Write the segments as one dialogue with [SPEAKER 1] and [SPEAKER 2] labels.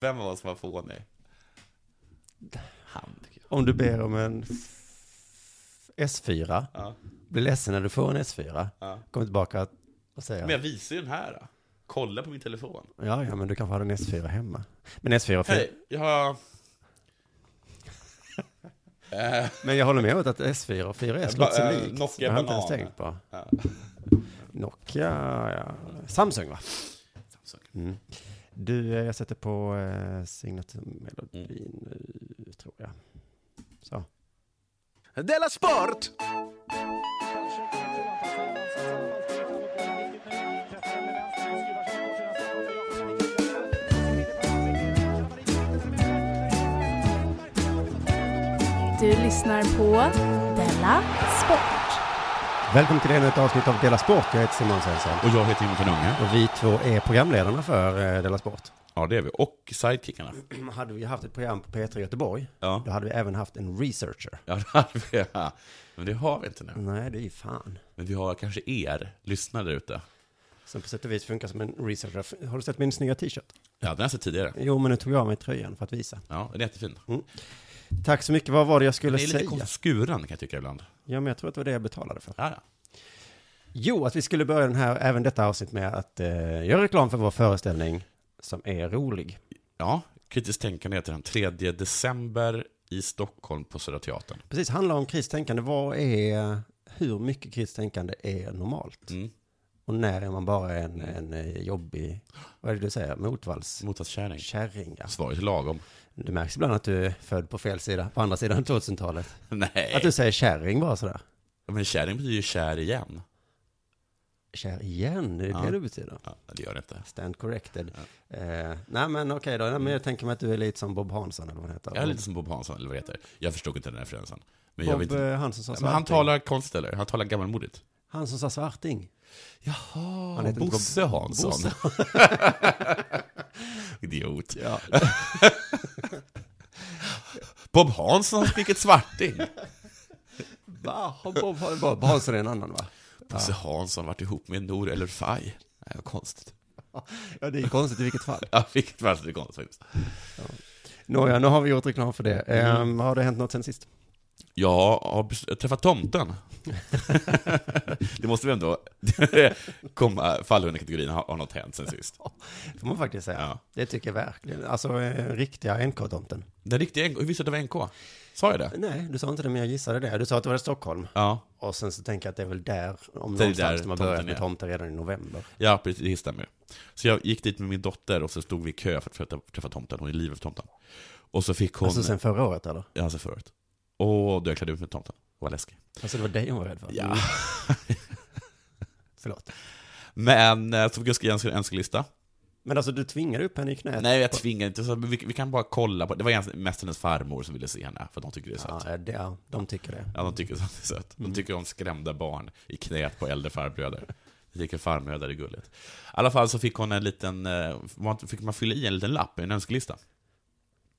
[SPEAKER 1] Vem av oss var fånig?
[SPEAKER 2] Han, tycker
[SPEAKER 3] Om du ber om en f- S4,
[SPEAKER 1] Ja.
[SPEAKER 3] blir ledsen när du får en S4,
[SPEAKER 1] Ja.
[SPEAKER 3] kom tillbaka och säga
[SPEAKER 1] Men jag visar ju den här. Då. Kolla på min telefon.
[SPEAKER 3] ja, ja, men du kanske har en S4 hemma. Men S4
[SPEAKER 1] Hej, jag har... Eh,
[SPEAKER 3] Men jag håller med om att S4 och 4S
[SPEAKER 1] Ba-
[SPEAKER 3] låter så
[SPEAKER 1] eh,
[SPEAKER 3] likt.
[SPEAKER 1] Nokia
[SPEAKER 3] jag har inte ens
[SPEAKER 1] banan.
[SPEAKER 3] tänkt på.
[SPEAKER 1] Ja.
[SPEAKER 3] Nokia, ja. Samsung va?
[SPEAKER 1] Samsung.
[SPEAKER 3] Mm. Du, eh, jag sätter på eh, signaturmelodin
[SPEAKER 1] Mm.
[SPEAKER 3] nu, tror jag. Så.
[SPEAKER 4] Della Sport!
[SPEAKER 5] Du lyssnar på Della Sport.
[SPEAKER 3] Välkommen till ännu ett avsnitt av Dela Sport. Jag heter Simon Svensson.
[SPEAKER 1] Och jag heter Jonathan Unge.
[SPEAKER 3] Och vi två är programledarna för eh, Dela Sport.
[SPEAKER 1] Ja, det är vi. Och sidekickarna.
[SPEAKER 3] Hade vi haft ett program på P3 Göteborg,
[SPEAKER 1] Ja,
[SPEAKER 3] då hade vi även haft en researcher.
[SPEAKER 1] ja det hade vi. Ja. Men det har vi inte nu.
[SPEAKER 3] Nej, det är ju fan.
[SPEAKER 1] Men vi har kanske er lyssnare där ute.
[SPEAKER 3] Som på sätt och vis funkar som en researcher. Har du sett min snygga t-shirt?
[SPEAKER 1] Ja, den har jag sett tidigare.
[SPEAKER 3] Jo, men nu tog jag av mig tröjan för att visa.
[SPEAKER 1] Ja, den är jättefin.
[SPEAKER 3] Tack så mycket. Vad var det jag
[SPEAKER 1] Den
[SPEAKER 3] skulle
[SPEAKER 1] är lite
[SPEAKER 3] säga?
[SPEAKER 1] konstigt skuren kan jag tycka ibland.
[SPEAKER 3] Ja, men jag tror att det var det jag betalade för.
[SPEAKER 1] Ja, ja.
[SPEAKER 3] Jo, att vi skulle börja den här, även detta avsnitt med att eh, göra reklam för vår föreställning som är rolig.
[SPEAKER 1] ja kritiskt tänkande heter den. 3 december i Stockholm på Södra Teatern.
[SPEAKER 3] Precis, handlar om kritiskt tänkande. Vad är, hur mycket kritiskt tänkande är normalt?
[SPEAKER 1] Mm.
[SPEAKER 3] Och när är man bara en, en eh, jobbig, vad är det du säger, motvallskärring?
[SPEAKER 1] Motsatskärring.
[SPEAKER 3] ja.
[SPEAKER 1] Svaret är lagom.
[SPEAKER 3] Det märks ibland att du är född på fel sida, på andra sidan 2000-talet. Att
[SPEAKER 1] Nej,
[SPEAKER 3] du säger kärring bara sådär.
[SPEAKER 1] men kärring betyder ju kär igen.
[SPEAKER 3] Kär igen, det är det
[SPEAKER 1] Ja.
[SPEAKER 3] det betyder.
[SPEAKER 1] Ja, det gör det inte.
[SPEAKER 3] Stand corrected. Eh, nej men okej då, nej, men jag tänker mig att du är lite som Bob Hansson eller vad han heter.
[SPEAKER 1] Jag är lite som Bob Hansson, eller vad det heter. Jag förstod inte den referensen. Men jag
[SPEAKER 3] Bob
[SPEAKER 1] vet inte.
[SPEAKER 3] eh, Hansson sa
[SPEAKER 1] Men han talar konst, eller? Han talar gammalmodigt.
[SPEAKER 3] Han som sa svarting.
[SPEAKER 1] Jaha,
[SPEAKER 3] Han heter inte
[SPEAKER 1] Bosse
[SPEAKER 3] Bob-
[SPEAKER 1] Hansson.
[SPEAKER 3] Bosse.
[SPEAKER 1] Idiot.
[SPEAKER 3] Ja.
[SPEAKER 1] Bob Hansson har skrikit svarting.
[SPEAKER 3] Va? Har Bob, har Bob Hansson är en annan va?
[SPEAKER 1] Bosse Hansson har varit ihop med Nour eller Faj. Nej, vad konstigt.
[SPEAKER 3] Ja, det är konstigt i vilket fall.
[SPEAKER 1] Ja, vilket väldigt konstigt faktiskt.
[SPEAKER 3] Nåja, nu har vi gjort reklam för det. Ehm, har det hänt något sen sist?
[SPEAKER 1] Jag har bes- träffat tomten. det måste vi ändå komma, falla under kategorin, har, har något hänt sen sist?
[SPEAKER 3] Får man faktiskt säga.
[SPEAKER 1] Ja.
[SPEAKER 3] Det tycker jag verkligen. Alltså, eh, riktiga NK-tomten.
[SPEAKER 1] Den riktiga NK, hur visste du att det var NK? Sa jag det?
[SPEAKER 3] Nej, du sa inte det, men jag gissade det. Du sa att det var i Stockholm.
[SPEAKER 1] Ja,
[SPEAKER 3] Och sen så tänker jag att det är väl där, om
[SPEAKER 1] Det är
[SPEAKER 3] någonstans,
[SPEAKER 1] där
[SPEAKER 3] de har börjat
[SPEAKER 1] tomten
[SPEAKER 3] med
[SPEAKER 1] är.
[SPEAKER 3] tomter redan i november.
[SPEAKER 1] Ja, precis, det stämmer. Så jag gick dit med min dotter och så stod vi i kö för att träffa, träffa tomten. Hon är livet för tomten. Och så fick hon...
[SPEAKER 3] Alltså sen förra året eller?
[SPEAKER 1] Ja, alltså förut. Och då jag klädde ut mig till tomten. Det var läskigt.
[SPEAKER 3] Alltså det var dig hon var rädd för?
[SPEAKER 1] Ja.
[SPEAKER 3] Mm, förlåt.
[SPEAKER 1] Men eh, så fick jag skriva en önskelista.
[SPEAKER 3] Men alltså du tvingade upp henne i knät?
[SPEAKER 1] Nej, jag tvingade inte. Så vi, vi kan bara kolla på. Det var egentligen mest hennes farmor som ville se henne, för de tycker det är
[SPEAKER 3] Ja,
[SPEAKER 1] sött.
[SPEAKER 3] ja, det, ja, de tycker det.
[SPEAKER 1] Ja, de tycker sånt är sött. De tycker om skrämda barn i knät på äldre farbröder. Jag tycker farbröder är gulligt. I alla fall så fick hon en liten, eh, man- fick man fylla i en liten lapp, en önskelista.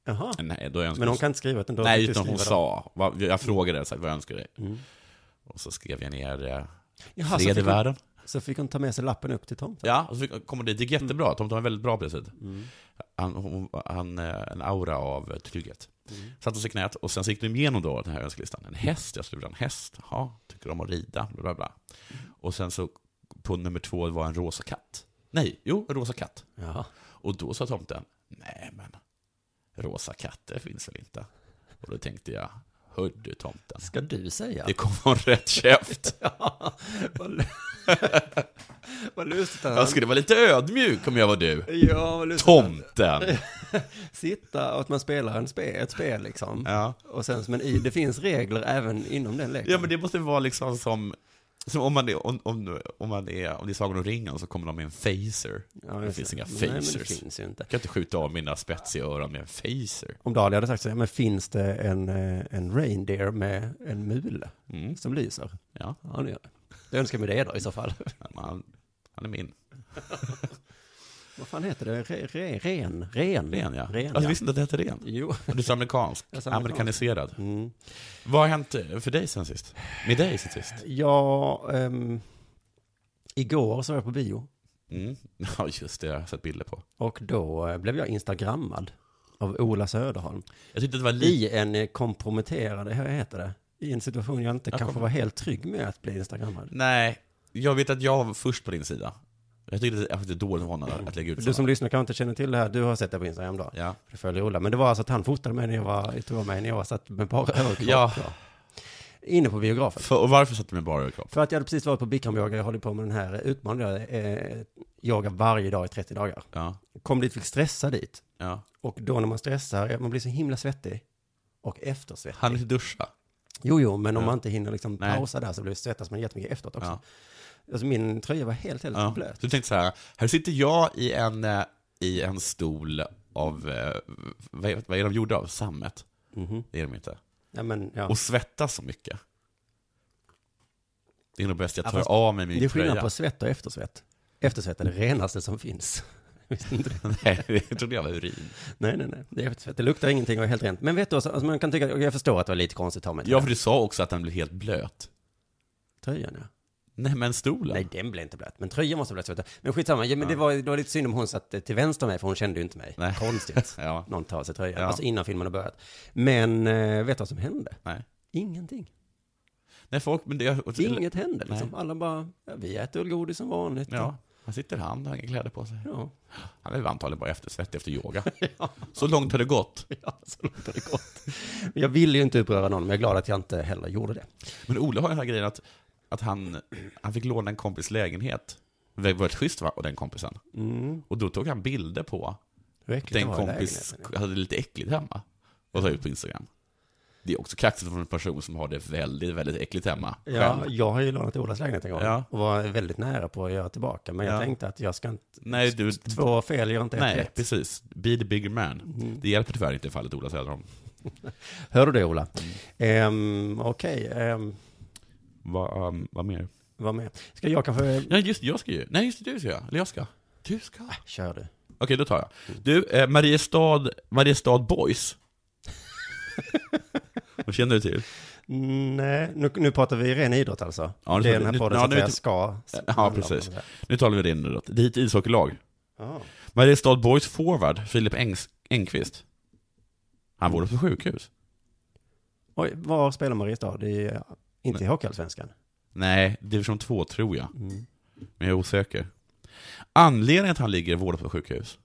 [SPEAKER 3] Jaha.
[SPEAKER 1] Nej, då är
[SPEAKER 3] Men hon kan inte skriva utan då
[SPEAKER 1] Nej,
[SPEAKER 3] fick du
[SPEAKER 1] utan hon
[SPEAKER 3] skriva dem.
[SPEAKER 1] sa, vad, jag frågade så här, vad jag önskade dig.
[SPEAKER 3] Mm.
[SPEAKER 1] Och så skrev jag ner eh,
[SPEAKER 3] Jaha, så
[SPEAKER 1] fred i
[SPEAKER 3] fick, hon,
[SPEAKER 1] världen.
[SPEAKER 3] så fick hon ta med sig lappen upp till tomten?
[SPEAKER 1] Ja, och så fick- kom hon dit. Det gick
[SPEAKER 3] Mm.
[SPEAKER 1] jättebra. Tomten var en väldigt bra precis. Han, hon, han, eh, en aura av eh, trygghet.
[SPEAKER 3] Mm.
[SPEAKER 1] Satte sig i knät och sen så gick de igenom då den här önskelistan. En häst, jag skulle vilja ha en häst. Ja, tycker om att rida, bla bla bla.
[SPEAKER 3] Mm.
[SPEAKER 1] Och sen så på nummer två var en rosa katt. Nej, jo, en rosa katt.
[SPEAKER 3] Ja.
[SPEAKER 1] Och då sa tomten, nej men, rosa katter finns väl inte? Och då tänkte jag, hör du tomten,
[SPEAKER 3] Ska du säga?
[SPEAKER 1] det kom från rätt käft.
[SPEAKER 3] Vad lu- Vad lustigt att han...
[SPEAKER 1] Jag skulle vara lite ödmjuk om jag var du.
[SPEAKER 3] Ja, vad lustigt att
[SPEAKER 1] Tomten!
[SPEAKER 3] sitta och att man spelar en spe, ett spel liksom.
[SPEAKER 1] Ja.
[SPEAKER 3] Och sen, men i, det finns regler även inom den leken.
[SPEAKER 1] ja, men det måste vara liksom som... Som om, man är, om, om, om, man är, om det är Sagan om ringen så kommer de med en phaser.
[SPEAKER 3] Ja,
[SPEAKER 1] det
[SPEAKER 3] just
[SPEAKER 1] finns inga
[SPEAKER 3] Nej, men det
[SPEAKER 1] phasers.
[SPEAKER 3] finns ju inte.
[SPEAKER 1] Jag kan inte skjuta av mina spetsiga öron med en phaser.
[SPEAKER 3] Om Dahlia hade sagt så här, men finns det en, eh, en reindeer med en mule
[SPEAKER 1] Mm.
[SPEAKER 3] som lyser?
[SPEAKER 1] Ja,
[SPEAKER 3] Ja, det gör det. Jag önskar mig det då i så fall.
[SPEAKER 1] men han, han är min.
[SPEAKER 3] Vad fan heter det? Re, re, ren? Ren?
[SPEAKER 1] Ren, ja.
[SPEAKER 3] Ren,
[SPEAKER 1] alltså,
[SPEAKER 3] ja.
[SPEAKER 1] jag visste inte att det hette ren.
[SPEAKER 3] Jo.
[SPEAKER 1] Och Du är så amerikansk.
[SPEAKER 3] Jag är så amerikansk.
[SPEAKER 1] Amerikaniserad.
[SPEAKER 3] Mm.
[SPEAKER 1] Vad har hänt eh, för dig sen sist? Med dig sen sist?
[SPEAKER 3] Ja, ehm, igår så var jag på bio.
[SPEAKER 1] Mm. Ja, just det. Jag har sett bilder på.
[SPEAKER 3] Och då eh, blev jag instagrammad av Ola Söderholm.
[SPEAKER 1] Jag tyckte det var lite...
[SPEAKER 3] I en eh, komprometterande, hur heter det? I en situation jag inte
[SPEAKER 1] Jag
[SPEAKER 3] kanske
[SPEAKER 1] kommer-
[SPEAKER 3] var helt trygg med att bli instagrammad.
[SPEAKER 1] Nej, jag vet att jag var först på din sida. Jag tyckte det jag tyckte det var dåligt av honom att lägga ut
[SPEAKER 3] Du som
[SPEAKER 1] sådana.
[SPEAKER 3] lyssnar kanske inte känner till det här, du har sett det på Instagram då?
[SPEAKER 1] Ja.
[SPEAKER 3] Du följer Ola, men det var alltså att han fotade mig när jag var, jag tror mig när jag var satt med bara överkropp.
[SPEAKER 1] Ja.
[SPEAKER 3] då. Inne på biografen.
[SPEAKER 1] För, och varför satte du med bara överkropp?
[SPEAKER 3] För att jag hade precis varit på Bikramyoga, jag håller på med den här utmaningen, där, eh, yoga varje dag i 30 dagar.
[SPEAKER 1] Ja,
[SPEAKER 3] Kom dit, fick stressa dit.
[SPEAKER 1] ja.
[SPEAKER 3] Och då när man stressar, man blir så himla svettig. Och eftersvettig.
[SPEAKER 1] Han inte duscha.
[SPEAKER 3] Jo, jo, men om
[SPEAKER 1] Ja.
[SPEAKER 3] man inte hinner liksom
[SPEAKER 1] Nej.
[SPEAKER 3] pausa där så blir det svettas man jättemycket efteråt också.
[SPEAKER 1] Ja.
[SPEAKER 3] Alltså min tröja var helt, helt
[SPEAKER 1] Ja.
[SPEAKER 3] blöt.
[SPEAKER 1] Så du tänkte så här, här sitter jag i en, eh, i en stol av, eh, vad är, vad är de gjorda av? Sammet?
[SPEAKER 3] Mhm.
[SPEAKER 1] Det är de inte.
[SPEAKER 3] Ja, men ja.
[SPEAKER 1] Och svettas så mycket. Det är nog bäst jag
[SPEAKER 3] Ja,
[SPEAKER 1] tar
[SPEAKER 3] fast
[SPEAKER 1] av mig min
[SPEAKER 3] Det är skillnad
[SPEAKER 1] tröja.
[SPEAKER 3] på svett och eftersvett. Eftersvett är det renaste som finns. Visste inte du?
[SPEAKER 1] Nej, det trodde jag var urin.
[SPEAKER 3] Nej, nej, nej. Det är eftersvett. Det luktar ingenting och är helt rent. Men vet du, alltså, alltså, man kan tycka, jag förstår att det var lite konstigt av mig.
[SPEAKER 1] Ja, för du sa också att den blev helt blöt.
[SPEAKER 3] Tröjan, ja.
[SPEAKER 1] Nej, men stolen.
[SPEAKER 3] Nej, den blev inte blöt. Men tröjan måste ha blivit svettig. Men skitsamma, ja, men
[SPEAKER 1] Ja.
[SPEAKER 3] det, var, det var lite synd om hon satt eh, till vänster om mig, för hon kände ju inte mig.
[SPEAKER 1] Nej.
[SPEAKER 3] Konstigt.
[SPEAKER 1] Ja,
[SPEAKER 3] Någon tar av sig tröjan,
[SPEAKER 1] Ja.
[SPEAKER 3] alltså innan filmen har börjat. Men eh, vet du vad som hände?
[SPEAKER 1] nej.
[SPEAKER 3] Ingenting.
[SPEAKER 1] Nej, folk, men det...
[SPEAKER 3] Inget hände liksom. Alla bara, ja, vi äter väl godis som vanligt.
[SPEAKER 1] Ja, här sitter han, har inga kläder på sig.
[SPEAKER 3] Ja.
[SPEAKER 1] Han är antagligen bara eftersvettig efter yoga. Så långt har det gått.
[SPEAKER 3] ja, så låter det gott. Men Jag ville ju inte uppröra någon, men jag är glad att jag inte heller gjorde det.
[SPEAKER 1] Men Ola har den här grejen att, att han, han fick låna en kompis lägenhet. Det var ett schysst va? Och den kompisen.
[SPEAKER 3] Mm.
[SPEAKER 1] Och då tog han bilder på
[SPEAKER 3] Hur
[SPEAKER 1] att
[SPEAKER 3] äckligt
[SPEAKER 1] den
[SPEAKER 3] det var i
[SPEAKER 1] kompis
[SPEAKER 3] lägenheten.
[SPEAKER 1] hade lite äckligt hemma. Och la ut på Instagram. Det är också kaxigt från en person som har det väldigt, väldigt äckligt hemma.
[SPEAKER 3] Ja,
[SPEAKER 1] själv.
[SPEAKER 3] jag har ju lånat Olas lägenhet en gång
[SPEAKER 1] Ja.
[SPEAKER 3] och var väldigt nära på att göra tillbaka. Men jag
[SPEAKER 1] Ja.
[SPEAKER 3] tänkte att jag ska inte,
[SPEAKER 1] Nej, du,
[SPEAKER 3] två fel gör inte ett
[SPEAKER 1] nej,
[SPEAKER 3] rätt.
[SPEAKER 1] precis. Be the bigger man. Det hjälper tyvärr inte i fallet Ola Söderholm.
[SPEAKER 3] Hör du det Ola?
[SPEAKER 1] Mm.
[SPEAKER 3] Ehm, Okej, ehm,
[SPEAKER 1] Vad um, vad mer?
[SPEAKER 3] vad mer? Ska jag kanske...
[SPEAKER 1] Nej, just det, jag ska ju. Nej, just det, du ska göra. Eller jag ska. Du ska.
[SPEAKER 3] Kör du.
[SPEAKER 1] Okej, då tar jag. Du, eh, Mariestad, Mariestad Boys. Vad känner du till?
[SPEAKER 3] Nej, nu, nu pratar vi ren idrott alltså.
[SPEAKER 1] Ja, det
[SPEAKER 3] det är
[SPEAKER 1] tror
[SPEAKER 3] den här
[SPEAKER 1] jag.
[SPEAKER 3] podden
[SPEAKER 1] Ja,
[SPEAKER 3] som
[SPEAKER 1] nu
[SPEAKER 3] jag
[SPEAKER 1] vet-
[SPEAKER 3] ska...
[SPEAKER 1] Ja, precis. Nu talar vi det inåt. Ditt ishockeylag.
[SPEAKER 3] Ja.
[SPEAKER 1] Mariestad Boys forward, Filip Engs- Engqvist. Han vårdas på sjukhus.
[SPEAKER 3] Oj, var spelar Mariestad? I, eh, inte i Hockeyallsvenskan?
[SPEAKER 1] Nej, division 2 tror jag,
[SPEAKER 3] Mm.
[SPEAKER 1] men jag är osäker. Anledningen att han ligger vårdad på sjukhus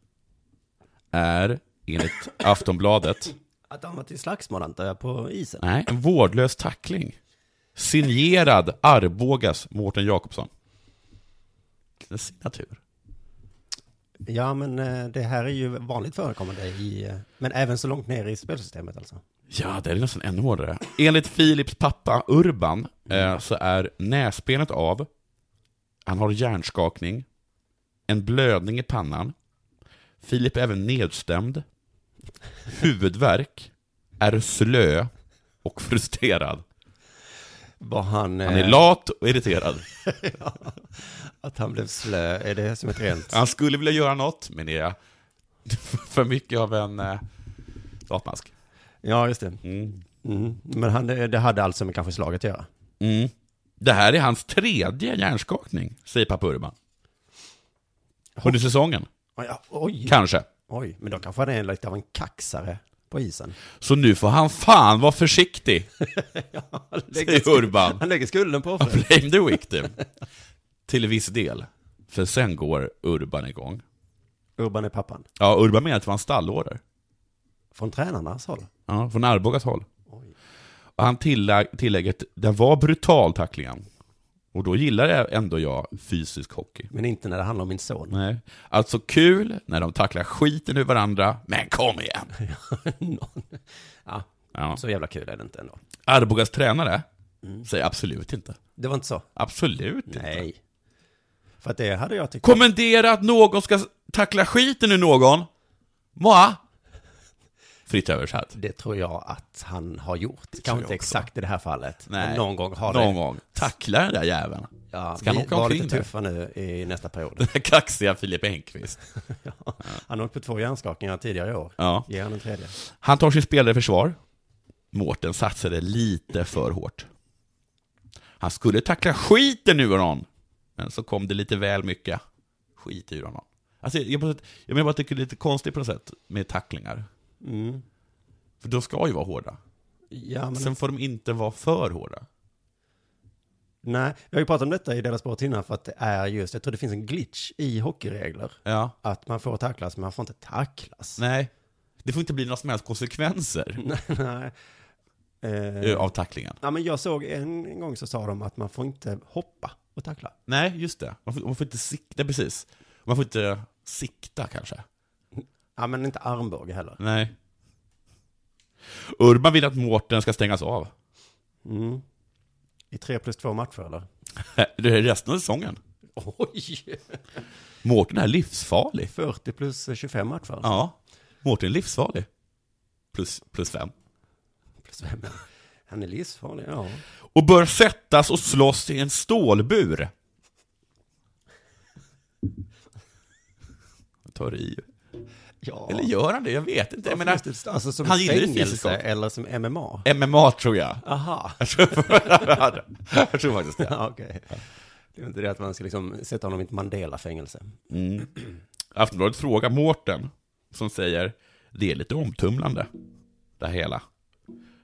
[SPEAKER 1] är, enligt Aftonbladet,
[SPEAKER 3] Att han var till slagsmål antar jag, på isen?
[SPEAKER 1] nej, en vårdlös tackling. Signerad Arbogas Mårten Jakobsson. Vilken signatur.
[SPEAKER 3] Ja, men eh, det här är ju vanligt förekommande i... eh, Men även så långt ner i spelsystemet alltså?
[SPEAKER 1] Ja, det är nästan ännu hårdare. Enligt Philips pappa Urban eh, så är näsbenet av, han har hjärnskakning, en blödning i pannan, Filip är även nedstämd, huvudvärk, är slö och frustrerad.
[SPEAKER 3] Var
[SPEAKER 1] Han
[SPEAKER 3] han...
[SPEAKER 1] är
[SPEAKER 3] eh,
[SPEAKER 1] lat och irriterad.
[SPEAKER 3] Att han blev slö, är det som ett rent...
[SPEAKER 1] Han skulle vilja göra något, men det är för mycket av en eh, latmask.
[SPEAKER 3] Ja, just det.
[SPEAKER 1] Mm.
[SPEAKER 3] Mm. Men han, det det hade alltså med kanske slaget att göra.
[SPEAKER 1] Mm. Det här är hans tredje hjärnskakning, säger pappa Urban. Under säsongen.
[SPEAKER 3] Oj, ja, Oj,
[SPEAKER 1] Kanske.
[SPEAKER 3] oj, men då kanske han är lite av en kaxare på isen.
[SPEAKER 1] Så nu får han fan vara försiktig, säger Urban.
[SPEAKER 3] Han lägger skulden på offret.
[SPEAKER 1] Blame the victim. Till viss del. För sen går Urban igång.
[SPEAKER 3] Urban är pappan.
[SPEAKER 1] Ja, Urban menar att det var en stallorder.
[SPEAKER 3] Från tränarnas håll.
[SPEAKER 1] Ja, från Arbogas håll. Och han tillägg, tillägget, den var brutal tacklingen. Och då gillar jag ändå jag fysisk hockey.
[SPEAKER 3] Men inte när det handlar om min son.
[SPEAKER 1] Nej. Alltså kul när de tacklar skiten ur varandra, men kom igen.
[SPEAKER 3] Någon. ja,
[SPEAKER 1] Ja.
[SPEAKER 3] så jävla kul är det inte ändå.
[SPEAKER 1] Arbogas tränare säger absolut inte.
[SPEAKER 3] Det var inte så?
[SPEAKER 1] Absolut inte.
[SPEAKER 3] Nej. För att det hade jag tyckt...
[SPEAKER 1] kommendera att någon ska tackla skiten ur någon. Moa. Fritt översatt.
[SPEAKER 3] Det tror jag att han har
[SPEAKER 1] tror
[SPEAKER 3] gjort. Kanske inte
[SPEAKER 1] jag också.
[SPEAKER 3] exakt i det här fallet. Men
[SPEAKER 1] Nej.
[SPEAKER 3] någon gång har
[SPEAKER 1] Någon
[SPEAKER 3] det...
[SPEAKER 1] gång. Tackla den där jäveln.
[SPEAKER 3] Ja,
[SPEAKER 1] Ska han
[SPEAKER 3] vi
[SPEAKER 1] åka
[SPEAKER 3] var
[SPEAKER 1] omkring
[SPEAKER 3] lite
[SPEAKER 1] där?
[SPEAKER 3] tuffa nu i nästa period.
[SPEAKER 1] Den där kaxiga Filip Engqvist.
[SPEAKER 3] Ja. Han har åkt på två hjärnskakningar tidigare i år.
[SPEAKER 1] Ja.
[SPEAKER 3] Ge han en tredje.
[SPEAKER 1] Han tar sin spelare i försvar. Mårten satsade lite för hårt. Han skulle tackla skiten ur någon. Men så kom det lite väl mycket. skit i hur han var. Alltså, jag, bara, jag menar bara att det är lite konstigt på något sätt med tacklingar.
[SPEAKER 3] Mm.
[SPEAKER 1] För de ska ju vara hårda.
[SPEAKER 3] Ja, men
[SPEAKER 1] Sen får de inte vara för hårda.
[SPEAKER 3] Nej, vi har ju pratat om detta i Dela Sport innan för att det är just, jag tror det finns en glitch i hockeyregler.
[SPEAKER 1] Ja.
[SPEAKER 3] Att man får tacklas, men man får inte tacklas.
[SPEAKER 1] Nej. Det får inte bli några som helst
[SPEAKER 3] Mm.
[SPEAKER 1] konsekvenser
[SPEAKER 3] Nej. Eh,
[SPEAKER 1] eh, av tacklingen.
[SPEAKER 3] Ja, men jag såg en, en gång så sa de att man får inte hoppa och tackla.
[SPEAKER 1] Nej, just det. Man får, man får inte sikta, precis. Man får inte sikta kanske.
[SPEAKER 3] Ja, men inte armbåge heller.
[SPEAKER 1] Nej. Urban vill att Mårten ska stängas av.
[SPEAKER 3] Mm. I tre plus två matcher eller?
[SPEAKER 1] Äh, Det är resten av säsongen.
[SPEAKER 3] Oj!
[SPEAKER 1] Mårten är livsfarlig.
[SPEAKER 3] 40 plus 25 matcher.
[SPEAKER 1] Ja. Mårten är livsfarlig. Plus, plus fem.
[SPEAKER 3] Plus fem. ja. Han är livsfarlig, ja.
[SPEAKER 1] Och bör sättas och slåss i en stålbur. Jag tar i.
[SPEAKER 3] ja.
[SPEAKER 1] Eller gör han det? Jag vet inte. Jag menar,
[SPEAKER 3] alltså som
[SPEAKER 1] han gillar ju fysisk
[SPEAKER 3] fängelse
[SPEAKER 1] art.
[SPEAKER 3] eller som MMA.
[SPEAKER 1] MMA tror jag.
[SPEAKER 3] Aha.
[SPEAKER 1] Jag tror, jag tror faktiskt det.
[SPEAKER 3] Ja, okej. Det är inte det att man ska liksom sätta honom i ett Mandela-fängelse.
[SPEAKER 1] Mm. Aftonbladet frågar Mårten, som säger det är lite omtumlande, det här hela.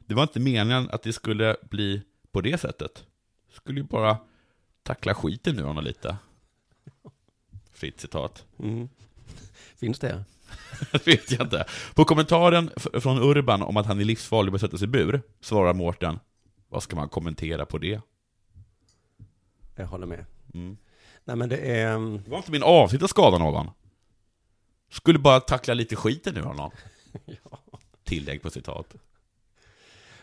[SPEAKER 1] Det var inte meningen att det skulle bli på det sättet. Skulle ju bara tackla skiten nu honom lite. Fritt citat.
[SPEAKER 3] Mm. Finns det?
[SPEAKER 1] Det vet jag inte. På kommentaren f- från Urban om att han är livsfarlig och sätta sig i bur, svarar Mårten, vad ska man kommentera på det?
[SPEAKER 3] Jag håller med.
[SPEAKER 1] Mm.
[SPEAKER 3] Nej, men det är... um,
[SPEAKER 1] Det var inte min avsikt att skada någon. Skulle bara tackla lite skiten nu honom.
[SPEAKER 3] Ja.
[SPEAKER 1] Tillägg på citat.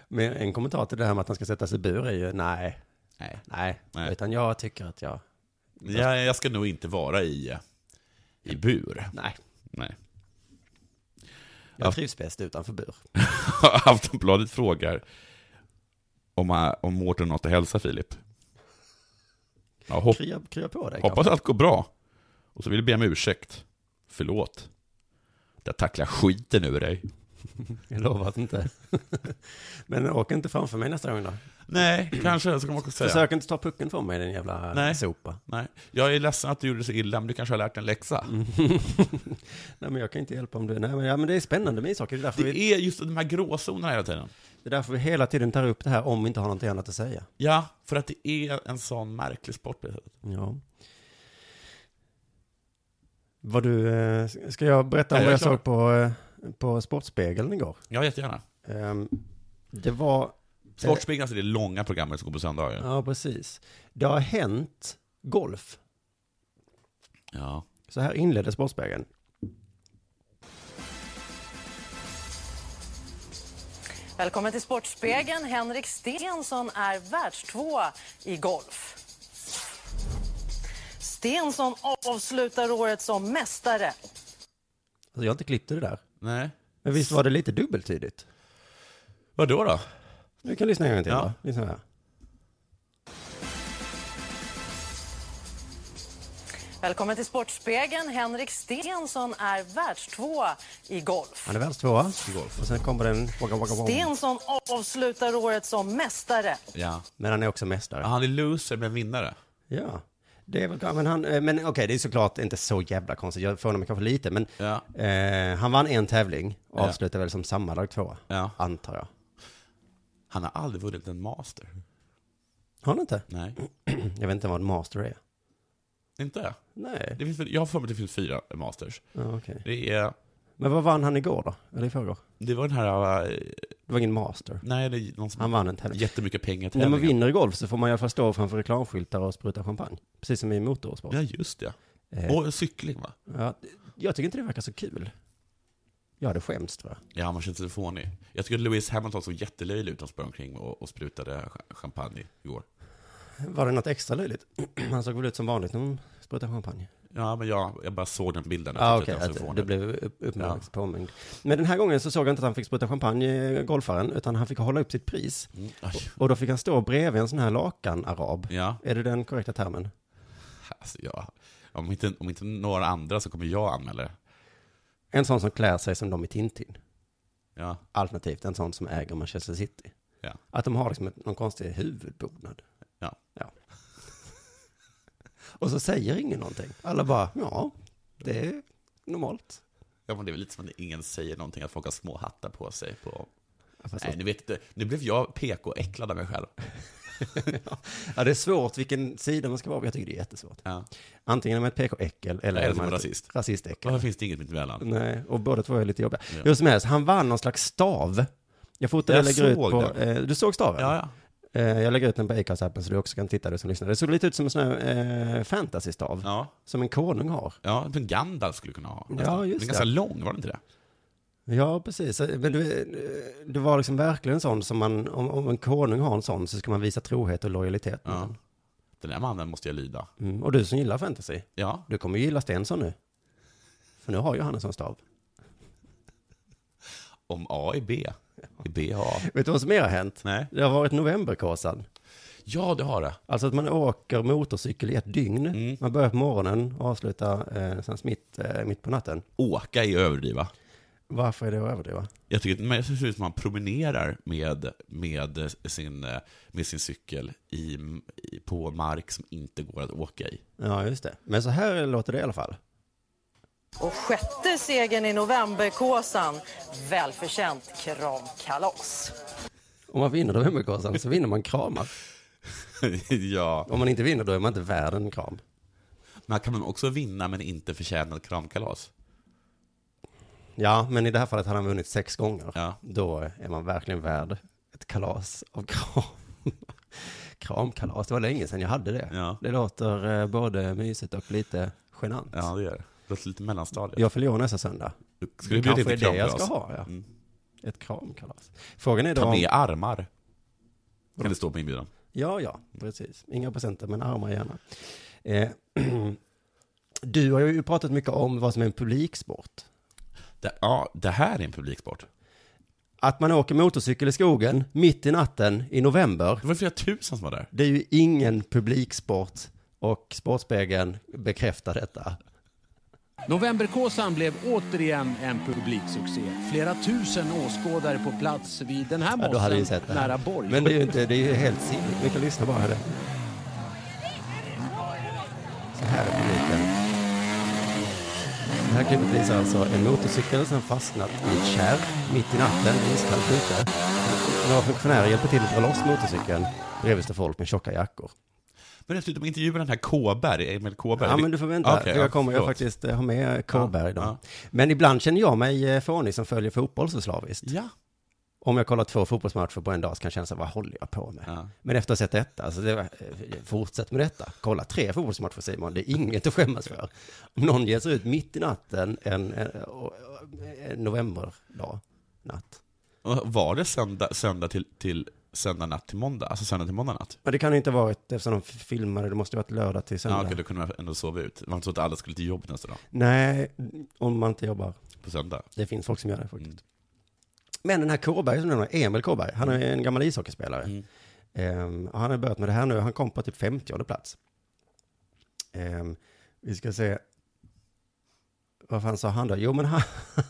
[SPEAKER 3] Men en kommentar till det här med att han ska sätta sig i bur är ju nej,
[SPEAKER 1] Nej.
[SPEAKER 3] nej,
[SPEAKER 1] Nej.
[SPEAKER 3] Utan jag tycker att jag...
[SPEAKER 1] Jag, jag ska nog inte vara i, i bur.
[SPEAKER 3] Nej,
[SPEAKER 1] Nej.
[SPEAKER 3] jag
[SPEAKER 1] Ja.
[SPEAKER 3] trivs bäst utanför bur.
[SPEAKER 1] Aftonbladet frågar om, han- om Mårten har något att hälsa Filip. Ja, hopp,
[SPEAKER 3] Krya, krya på dig.
[SPEAKER 1] hoppas allt går bra. Och så vill jag be om ursäkt. Förlåt. Jag tacklar skiten ur dig.
[SPEAKER 3] kanske. Jag lovar att inte. men åk inte framför mig nästa gång då.
[SPEAKER 1] Nej, kanske, så kan man också säga.
[SPEAKER 3] Försök inte ta pucken från mig, den jävla
[SPEAKER 1] Nej.
[SPEAKER 3] sopa.
[SPEAKER 1] Nej, jag är ledsen att du gjorde så illa, men du kanske har lärt dig en läxa.
[SPEAKER 3] Nej, men jag kan inte hjälpa om du... Nej, men, ja, men det är spännande med ishockey. Det är, därför vi,
[SPEAKER 1] Det är just de här gråzonerna hela tiden.
[SPEAKER 3] det är därför vi hela tiden tar upp det här om vi inte har något annat att säga.
[SPEAKER 1] Ja, för att det är en sån märklig sport. på det sättet.
[SPEAKER 3] Ja. Vad du, eh, ska jag berätta om
[SPEAKER 1] Ja,
[SPEAKER 3] vad
[SPEAKER 1] jag är
[SPEAKER 3] jag
[SPEAKER 1] klar.
[SPEAKER 3] såg på, eh, på Sportspegeln igår?
[SPEAKER 1] Ja, jättegärna.
[SPEAKER 3] Ehm, Det var,
[SPEAKER 1] Sportspegeln, alltså det långa programmet som går på söndagar.
[SPEAKER 3] ja precis. Det har hänt golf.
[SPEAKER 1] Ja.
[SPEAKER 3] Så här inledde Sportspegeln. Alltså,
[SPEAKER 2] Välkommen till Sportspegeln. Henrik Stensson är världstvåa i golf. Stensson avslutar året som mästare.
[SPEAKER 3] Alltså jag har inte klippt det där.
[SPEAKER 1] Nej.
[SPEAKER 3] Men visst var det lite dubbeltydigt?
[SPEAKER 1] Vad då då?
[SPEAKER 3] Vi kan lyssna en gång till.
[SPEAKER 1] Ja.
[SPEAKER 3] Ja. Lyssna här.
[SPEAKER 2] Välkommen till Sportspegeln. Henrik Stensson är världstvåa i golf.
[SPEAKER 3] Han är världstvåa. Och sen kommer den... waka, waka, waka.
[SPEAKER 2] Stensson avslutar året som mästare.
[SPEAKER 1] Ja.
[SPEAKER 3] Men han är också mästare.
[SPEAKER 1] Han är loser men vinnare.
[SPEAKER 3] Ja. Det är väl, ja, men han, eh, men okej, det är såklart inte så jävla konstigt. Jag förvånar mig kanske lite, men
[SPEAKER 1] Ja.
[SPEAKER 3] eh, han vann en tävling och
[SPEAKER 1] Ja.
[SPEAKER 3] avslutade väl som sammanlagt tvåa,
[SPEAKER 1] Ja.
[SPEAKER 3] antar jag.
[SPEAKER 1] Han har aldrig vunnit en master.
[SPEAKER 3] Har han inte?
[SPEAKER 1] Nej.
[SPEAKER 3] Jag vet inte vad en master är.
[SPEAKER 1] Inte?
[SPEAKER 3] Nej.
[SPEAKER 1] Det finns, väl- jag har för mig att det finns fyra masters.
[SPEAKER 3] Ja, okej.
[SPEAKER 1] Det, är,
[SPEAKER 3] Men vad vann han igår då? Eller i förrgår?
[SPEAKER 1] det var den här... eh,
[SPEAKER 3] Det var ingen master.
[SPEAKER 1] Nej, det är någon som
[SPEAKER 3] Han vann en tävling.
[SPEAKER 1] jättemycket pengar
[SPEAKER 3] När man
[SPEAKER 1] tävlingen.
[SPEAKER 3] vinner i golf så får man i alla fall stå framför reklamskyltar och spruta champagne. Precis som i motorsport.
[SPEAKER 1] Ja, just det.
[SPEAKER 3] Eh,
[SPEAKER 1] Och cykling, va?
[SPEAKER 3] ja, jag tycker inte det verkar så kul. Jag hade skämts tror jag.
[SPEAKER 1] Ja, man känns lite fånig. Jag tycker att Lewis Hamilton såg jättelöjlig ut när han sprang omkring och, och sprutade cha- champagne igår.
[SPEAKER 3] Var det något extra löjligt? han såg väl ut som vanligt när de sprutade champagne.
[SPEAKER 1] Ja, men jag, jag bara såg den bilden. Jag
[SPEAKER 3] Ja, ah,
[SPEAKER 1] tyckte
[SPEAKER 3] okej.
[SPEAKER 1] att den såg
[SPEAKER 3] att
[SPEAKER 1] fånig
[SPEAKER 3] du
[SPEAKER 1] ut.
[SPEAKER 3] blev upp- uppmärksam påmind. Men den här gången så såg jag inte att han fick spruta champagne, eh, golfaren, utan han fick hålla upp sitt pris.
[SPEAKER 1] Mm, aj.
[SPEAKER 3] Och då fick han stå bredvid en sån här lakan-arab.
[SPEAKER 1] Ja,
[SPEAKER 3] Är det den korrekta termen?
[SPEAKER 1] alltså, ja. Om, inte, om inte några andra så kommer jag anmäla det.
[SPEAKER 3] En sån som klär sig som de i Tintin.
[SPEAKER 1] Ja,
[SPEAKER 3] Alternativt en sån som äger Manchester City.
[SPEAKER 1] Ja.
[SPEAKER 3] Att de har liksom ett, någon konstig huvudbonad.
[SPEAKER 1] ja.
[SPEAKER 3] Ja. Och så säger ingen någonting. Alla bara, ja, det är normalt.
[SPEAKER 1] Ja, men det är väl lite som att ingen säger någonting, att folk har små hattar på sig. På...
[SPEAKER 3] Ja, fast-
[SPEAKER 1] Nej, ni vet inte. Nu blev jag PK-äcklad av mig själv.
[SPEAKER 3] ja, det är svårt vilken sida man ska vara på. Jag tycker det är jättesvårt.
[SPEAKER 1] Ja.
[SPEAKER 3] Antingen är man ett PK-äckel
[SPEAKER 1] Eller
[SPEAKER 3] eller är
[SPEAKER 1] så är
[SPEAKER 3] man
[SPEAKER 1] man
[SPEAKER 3] ett
[SPEAKER 1] rasist.
[SPEAKER 3] rasistäckel.
[SPEAKER 1] Varför finns det inget mittemellan?
[SPEAKER 3] Nej, och båda två är lite jobbiga.
[SPEAKER 1] Ja.
[SPEAKER 3] Hur som helst, han vann någon slags stav. Jag fotade
[SPEAKER 1] Jag
[SPEAKER 3] lägger ut
[SPEAKER 1] såg
[SPEAKER 3] på...
[SPEAKER 1] den.
[SPEAKER 3] Eh, du såg staven?
[SPEAKER 1] Ja, ja.
[SPEAKER 3] Eh, jag lägger ut den på Acast-appen så du också kan titta, du som lyssnar. Det såg lite ut som en sån här eh, fantasy-stav,
[SPEAKER 1] Ja,
[SPEAKER 3] som en konung har.
[SPEAKER 1] ja som Gandalf skulle kunna ha. nästan.
[SPEAKER 3] Ja, just
[SPEAKER 1] den är ganska
[SPEAKER 3] det.
[SPEAKER 1] lång, var den inte det?
[SPEAKER 3] Ja, precis. Eh, Men du, det var liksom verkligen en sån som man, om, om en konung har en sån så ska man visa trohet och lojalitet. med
[SPEAKER 1] Ja.
[SPEAKER 3] den.
[SPEAKER 1] Den där mannen måste jag lyda.
[SPEAKER 3] Mm. Och du som gillar fantasy,
[SPEAKER 1] Ja,
[SPEAKER 3] du kommer ju gilla Stensson nu. För nu har ju han en sån stav.
[SPEAKER 1] om A är B, är B A.
[SPEAKER 3] Vet du vad som mer har hänt?
[SPEAKER 1] Nej.
[SPEAKER 3] Det har varit novemberkåsan.
[SPEAKER 1] Ja, det har det.
[SPEAKER 3] Alltså att man åker motorcykel i ett dygn.
[SPEAKER 1] Mm.
[SPEAKER 3] Man börjar på morgonen och avslutar eh, sen mitt, eh, mitt på natten.
[SPEAKER 1] Åka är att överdriva.
[SPEAKER 3] Varför är det att överdriva?
[SPEAKER 1] Jag tycker men jag tycker det ser ut som att man promenerar med, med, sin, eh, med sin cykel i, i, på mark som inte går att åka i.
[SPEAKER 3] Ja, just det. Men så här låter det i alla fall.
[SPEAKER 2] Och sjätte segern i novemberkåsan. Välförtjänt kramkalas.
[SPEAKER 3] Om man vinner novemberkåsan så vinner man kramar.
[SPEAKER 1] ja,
[SPEAKER 3] Om man inte vinner då är man inte värd en kram.
[SPEAKER 1] men kan man också vinna men inte förtjäna ett kramkalas?
[SPEAKER 3] Ja, men i det här fallet hade han vunnit sex gånger.
[SPEAKER 1] Ja.
[SPEAKER 3] Då är man verkligen värd ett kalas av kram. Kramkalas, det var länge sedan jag hade det.
[SPEAKER 1] Ja.
[SPEAKER 3] Det låter eh, både mysigt och lite genant.
[SPEAKER 1] Ja, det gör det. Det låter lite mellanstadiet.
[SPEAKER 3] Jag fyller år nästa söndag.
[SPEAKER 1] Ska det bli
[SPEAKER 3] Kanske
[SPEAKER 1] lite
[SPEAKER 3] är det jag
[SPEAKER 1] kramkalas?
[SPEAKER 3] ska ha, ja.
[SPEAKER 1] Mm.
[SPEAKER 3] Ett kramkalas. Frågan är då
[SPEAKER 1] Ta
[SPEAKER 3] om...
[SPEAKER 1] med armar. Kan det stå på inbjudan?
[SPEAKER 3] Ja, ja, precis. Inga presenter, men armar gärna. Eh, du har ju pratat mycket om vad som är en publiksport.
[SPEAKER 1] Det, ja, det här är en publiksport.
[SPEAKER 3] Att man åker motorcykel i skogen mitt i natten i november,
[SPEAKER 1] Det var flera tusen som var där.
[SPEAKER 3] det är ju ingen publiksport och Sportspegeln bekräftar detta.
[SPEAKER 6] Novemberkåsan blev återigen en publiksuccé. Flera tusen åskådare på plats vid den här
[SPEAKER 3] Ja, då hade vi
[SPEAKER 6] mossen
[SPEAKER 3] sett det. här.
[SPEAKER 6] nära Borg.
[SPEAKER 3] Men det är ju inte, det är ju helt sinnigt. Vi kan lyssna bara här. Så här är publiken. Det här klippet visar alltså en motorcykel som fastnat i ett kärr mitt i natten, iskallt ute. Några funktionärer hjälper till att dra loss motorcykeln. Bredvid står folk med tjocka jackor.
[SPEAKER 1] Men dessutom intervjuar den här Kåberg, Emil Kåberg.
[SPEAKER 3] Ja, men du får vänta,
[SPEAKER 1] Okej,
[SPEAKER 3] för
[SPEAKER 1] ja,
[SPEAKER 3] jag kommer jag
[SPEAKER 1] förlåt.
[SPEAKER 3] faktiskt eh, ha med Kåberg idag.
[SPEAKER 1] ja.
[SPEAKER 3] Men ibland känner jag mig eh, fånig som följer fotboll så slaviskt.
[SPEAKER 1] Ja.
[SPEAKER 3] Om jag kollar två fotbollsmatcher på en dag så kan jag känna så här, vad håller jag på med?
[SPEAKER 1] Ja.
[SPEAKER 3] Men efter att ha sett detta, alltså det var, eh, fortsätt med detta. Kolla tre fotbollsmatcher Simon, det är inget att skämmas för. Om någon ger sig ut mitt i natten en, en, en novemberdag, natt.
[SPEAKER 1] Och Var det söndag, söndag, till, till, söndag natt till måndag? Alltså söndag till måndag natt?
[SPEAKER 3] Men det kan ju inte ha varit, eftersom de filmade, det måste ju ha varit lördag till
[SPEAKER 1] Ja,
[SPEAKER 3] söndag.
[SPEAKER 1] okej, då kunde man ändå sova ut. Det var inte så att alla skulle till jobbet nästa dag,
[SPEAKER 3] Nej, om man inte jobbar.
[SPEAKER 1] på söndag.
[SPEAKER 3] Det finns folk som gör det faktiskt.
[SPEAKER 1] Mm.
[SPEAKER 3] Men den här Kåberg som du nämner, Emil Kåberg, han är en gammal ishockeyspelare.
[SPEAKER 1] Mm.
[SPEAKER 3] Ehm, och han har börjat med det här nu, han kom på typ 50 plats. Ehm, vi ska se, vad fan sa han då? Jo men han,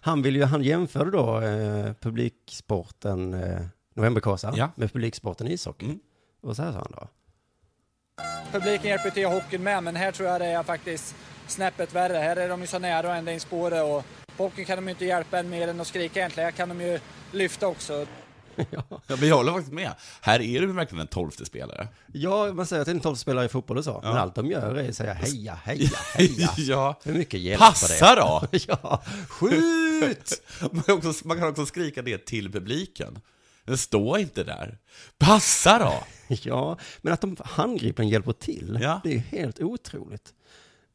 [SPEAKER 3] han, vill ju, han jämförde då eh, publiksporten eh, Novemberkåsan
[SPEAKER 1] Ja.
[SPEAKER 3] med publiksporten ishockey.
[SPEAKER 1] Mm.
[SPEAKER 3] Och så här sa han då.
[SPEAKER 7] Publiken hjälper till i hockeyn med, men här tror jag det är faktiskt snäppet värre. Här är de ju så nära och ända in i spåret och på hockeyn kan de ju inte hjälpa en mer än att skrika egentligen. Här kan de ju lyfta också.
[SPEAKER 1] Ja, men jag håller faktiskt med. Här är du verkligen en tolfte spelare.
[SPEAKER 3] Ja, man säger att det är en tolvspelare i fotboll och så, men allt de gör är att säga heja, heja, heja.
[SPEAKER 1] ja.
[SPEAKER 3] Hur mycket hjälper
[SPEAKER 1] Passa då!
[SPEAKER 3] det? ja, skjut!
[SPEAKER 1] Man kan, också, man kan också skrika det till publiken. Men stå inte där. Passa då!
[SPEAKER 3] Ja, men att de handgripligen hjälper till,
[SPEAKER 1] Ja.
[SPEAKER 3] det är ju helt otroligt.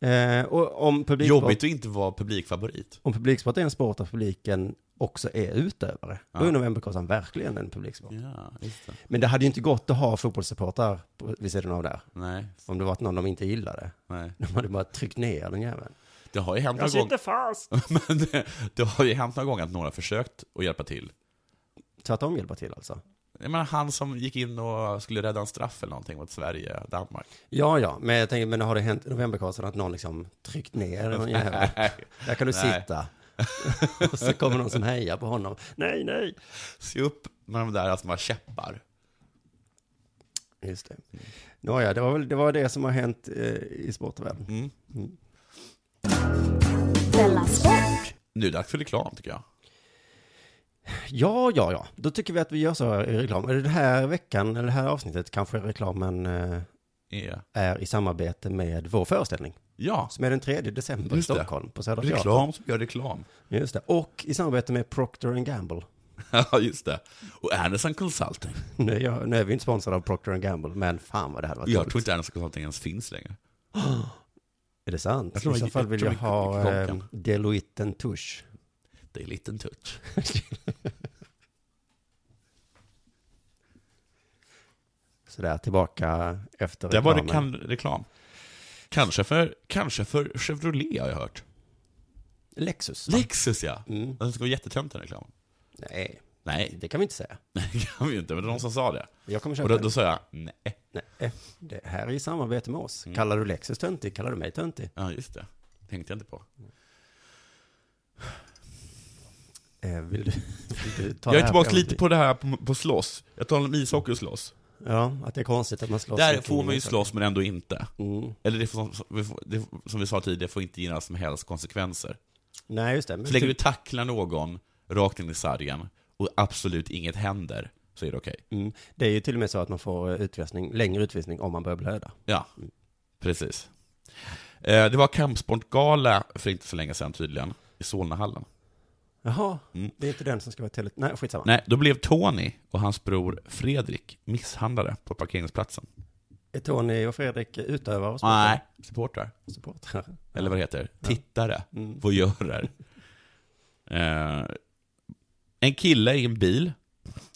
[SPEAKER 3] Eh, och om publiksport,
[SPEAKER 1] Jobbigt att inte vara publikfavorit.
[SPEAKER 3] om publiksport är en sport där publiken också är utövare, då är novemberkåsan verkligen en publiksport.
[SPEAKER 1] Ja, just det.
[SPEAKER 3] Men det hade ju inte gått att ha fotbollssupportrar på- vid sidan av där,
[SPEAKER 1] Nej,
[SPEAKER 3] om det varit någon de inte gillade.
[SPEAKER 1] nej.
[SPEAKER 3] De hade bara tryckt ner den jäveln.
[SPEAKER 1] Det har ju hänt någon gång...
[SPEAKER 3] fast!
[SPEAKER 1] Men det, det har ju hänt någon gång att några försökt att hjälpa till.
[SPEAKER 3] Så att de hjälper till alltså.
[SPEAKER 1] Jag menar, han som gick in och skulle rädda en straff eller någonting mot Sverige, Danmark.
[SPEAKER 3] Ja, ja, men jag tänker, men har det hänt i novemberkåsan att någon liksom tryckt ner någon jävel? Där kan du
[SPEAKER 1] Nej.
[SPEAKER 3] sitta. och så kommer någon som hejar på honom. Nej, nej.
[SPEAKER 1] Se upp med de där som har käppar.
[SPEAKER 3] Just det. Nåja, det var väl det, var det som har hänt eh, i sportvärlden.
[SPEAKER 1] Mm.
[SPEAKER 5] Della Sport.
[SPEAKER 1] Nu är det dags för reklam tycker jag.
[SPEAKER 3] Ja, ja, ja. Då tycker vi att vi gör så i reklam. Är det den här veckan, eller det här avsnittet, kanske reklamen eh,
[SPEAKER 1] Är-
[SPEAKER 3] är i samarbete med vår föreställning.
[SPEAKER 1] Ja,
[SPEAKER 3] Som är den 3 december i
[SPEAKER 1] Just det.
[SPEAKER 3] Stockholm, på Södra Teatern.
[SPEAKER 1] reklam som gör reklam.
[SPEAKER 3] Just det. Och i samarbete med Procter Gamble.
[SPEAKER 1] Ja, just det. Och Anderson Consulting.
[SPEAKER 3] Nu är, jag, nu är vi inte sponsrade av Procter Gamble, men fan vad det hade varit
[SPEAKER 1] Jag
[SPEAKER 3] roligt.
[SPEAKER 1] tror inte Anderson Consulting ens finns längre.
[SPEAKER 3] Är det sant?
[SPEAKER 1] Jag tror
[SPEAKER 3] I så
[SPEAKER 1] jag-
[SPEAKER 3] fall
[SPEAKER 1] jag
[SPEAKER 3] vill
[SPEAKER 1] tror jag
[SPEAKER 3] jag, ha
[SPEAKER 1] gick i
[SPEAKER 3] eh,
[SPEAKER 1] konken.
[SPEAKER 3] Deloitte en tusch.
[SPEAKER 1] Det är liten touch.
[SPEAKER 3] Sådär, tillbaka efter
[SPEAKER 1] Där var det
[SPEAKER 3] reklamen.
[SPEAKER 1] kan, reklam. Kanske för, kanske för Chevrolet har jag hört.
[SPEAKER 3] Lexus. va?
[SPEAKER 1] Lexus ja. Mm. Den ska vara jättetönt den reklamen.
[SPEAKER 3] Nej,
[SPEAKER 1] Nej,
[SPEAKER 3] det kan vi inte säga.
[SPEAKER 1] det kan vi ju inte. Men det var någon som sa det.
[SPEAKER 3] Jag kommer
[SPEAKER 1] Och
[SPEAKER 3] köpa
[SPEAKER 1] då,
[SPEAKER 3] den.
[SPEAKER 1] då sa jag nej.
[SPEAKER 3] Nej, det här är i samarbete med oss.
[SPEAKER 1] Mm.
[SPEAKER 3] Kallar du Lexus töntig, kallar du mig töntig.
[SPEAKER 1] Ja, just det. Tänkte jag inte på.
[SPEAKER 3] Eh, vill du, vill du ta
[SPEAKER 1] Jag
[SPEAKER 3] det
[SPEAKER 1] är
[SPEAKER 3] här
[SPEAKER 1] tillbaka
[SPEAKER 3] programmet?
[SPEAKER 1] lite på det här på, på slåss. Jag talar om ishockey och slåss.
[SPEAKER 3] Ja, att det är konstigt att man slåss.
[SPEAKER 1] Där
[SPEAKER 3] med
[SPEAKER 1] får man ju
[SPEAKER 3] kniven.
[SPEAKER 1] slåss men ändå inte.
[SPEAKER 3] Mm.
[SPEAKER 1] Eller det får, som- vi får- det, som vi sa tidigare, får inte ge några som helst konsekvenser.
[SPEAKER 3] Nej, just det. Men
[SPEAKER 1] Så länge du
[SPEAKER 3] typ-
[SPEAKER 1] tacklar någon rakt in i sargen och absolut inget händer, så är det okej.
[SPEAKER 3] mm. Det är ju till och med så att man får eh, utvisning, längre utvisning om man börjar blöda.
[SPEAKER 1] Ja, precis. Eh, Det var kampsportgala för inte så länge sedan tydligen, i Solnahallen.
[SPEAKER 3] Jaha,
[SPEAKER 1] Mm.
[SPEAKER 3] det är inte den som ska vara tele... Nej, skitsamma.
[SPEAKER 1] Nej, då blev Tony och hans bror Fredrik misshandlade på parkeringsplatsen.
[SPEAKER 3] Är Tony och Fredrik utövare och supportrar?
[SPEAKER 1] Nej, supportrar.
[SPEAKER 3] supportrar?
[SPEAKER 1] Eller vad det heter, tittare, voyeurer. Eh, en kille i en bil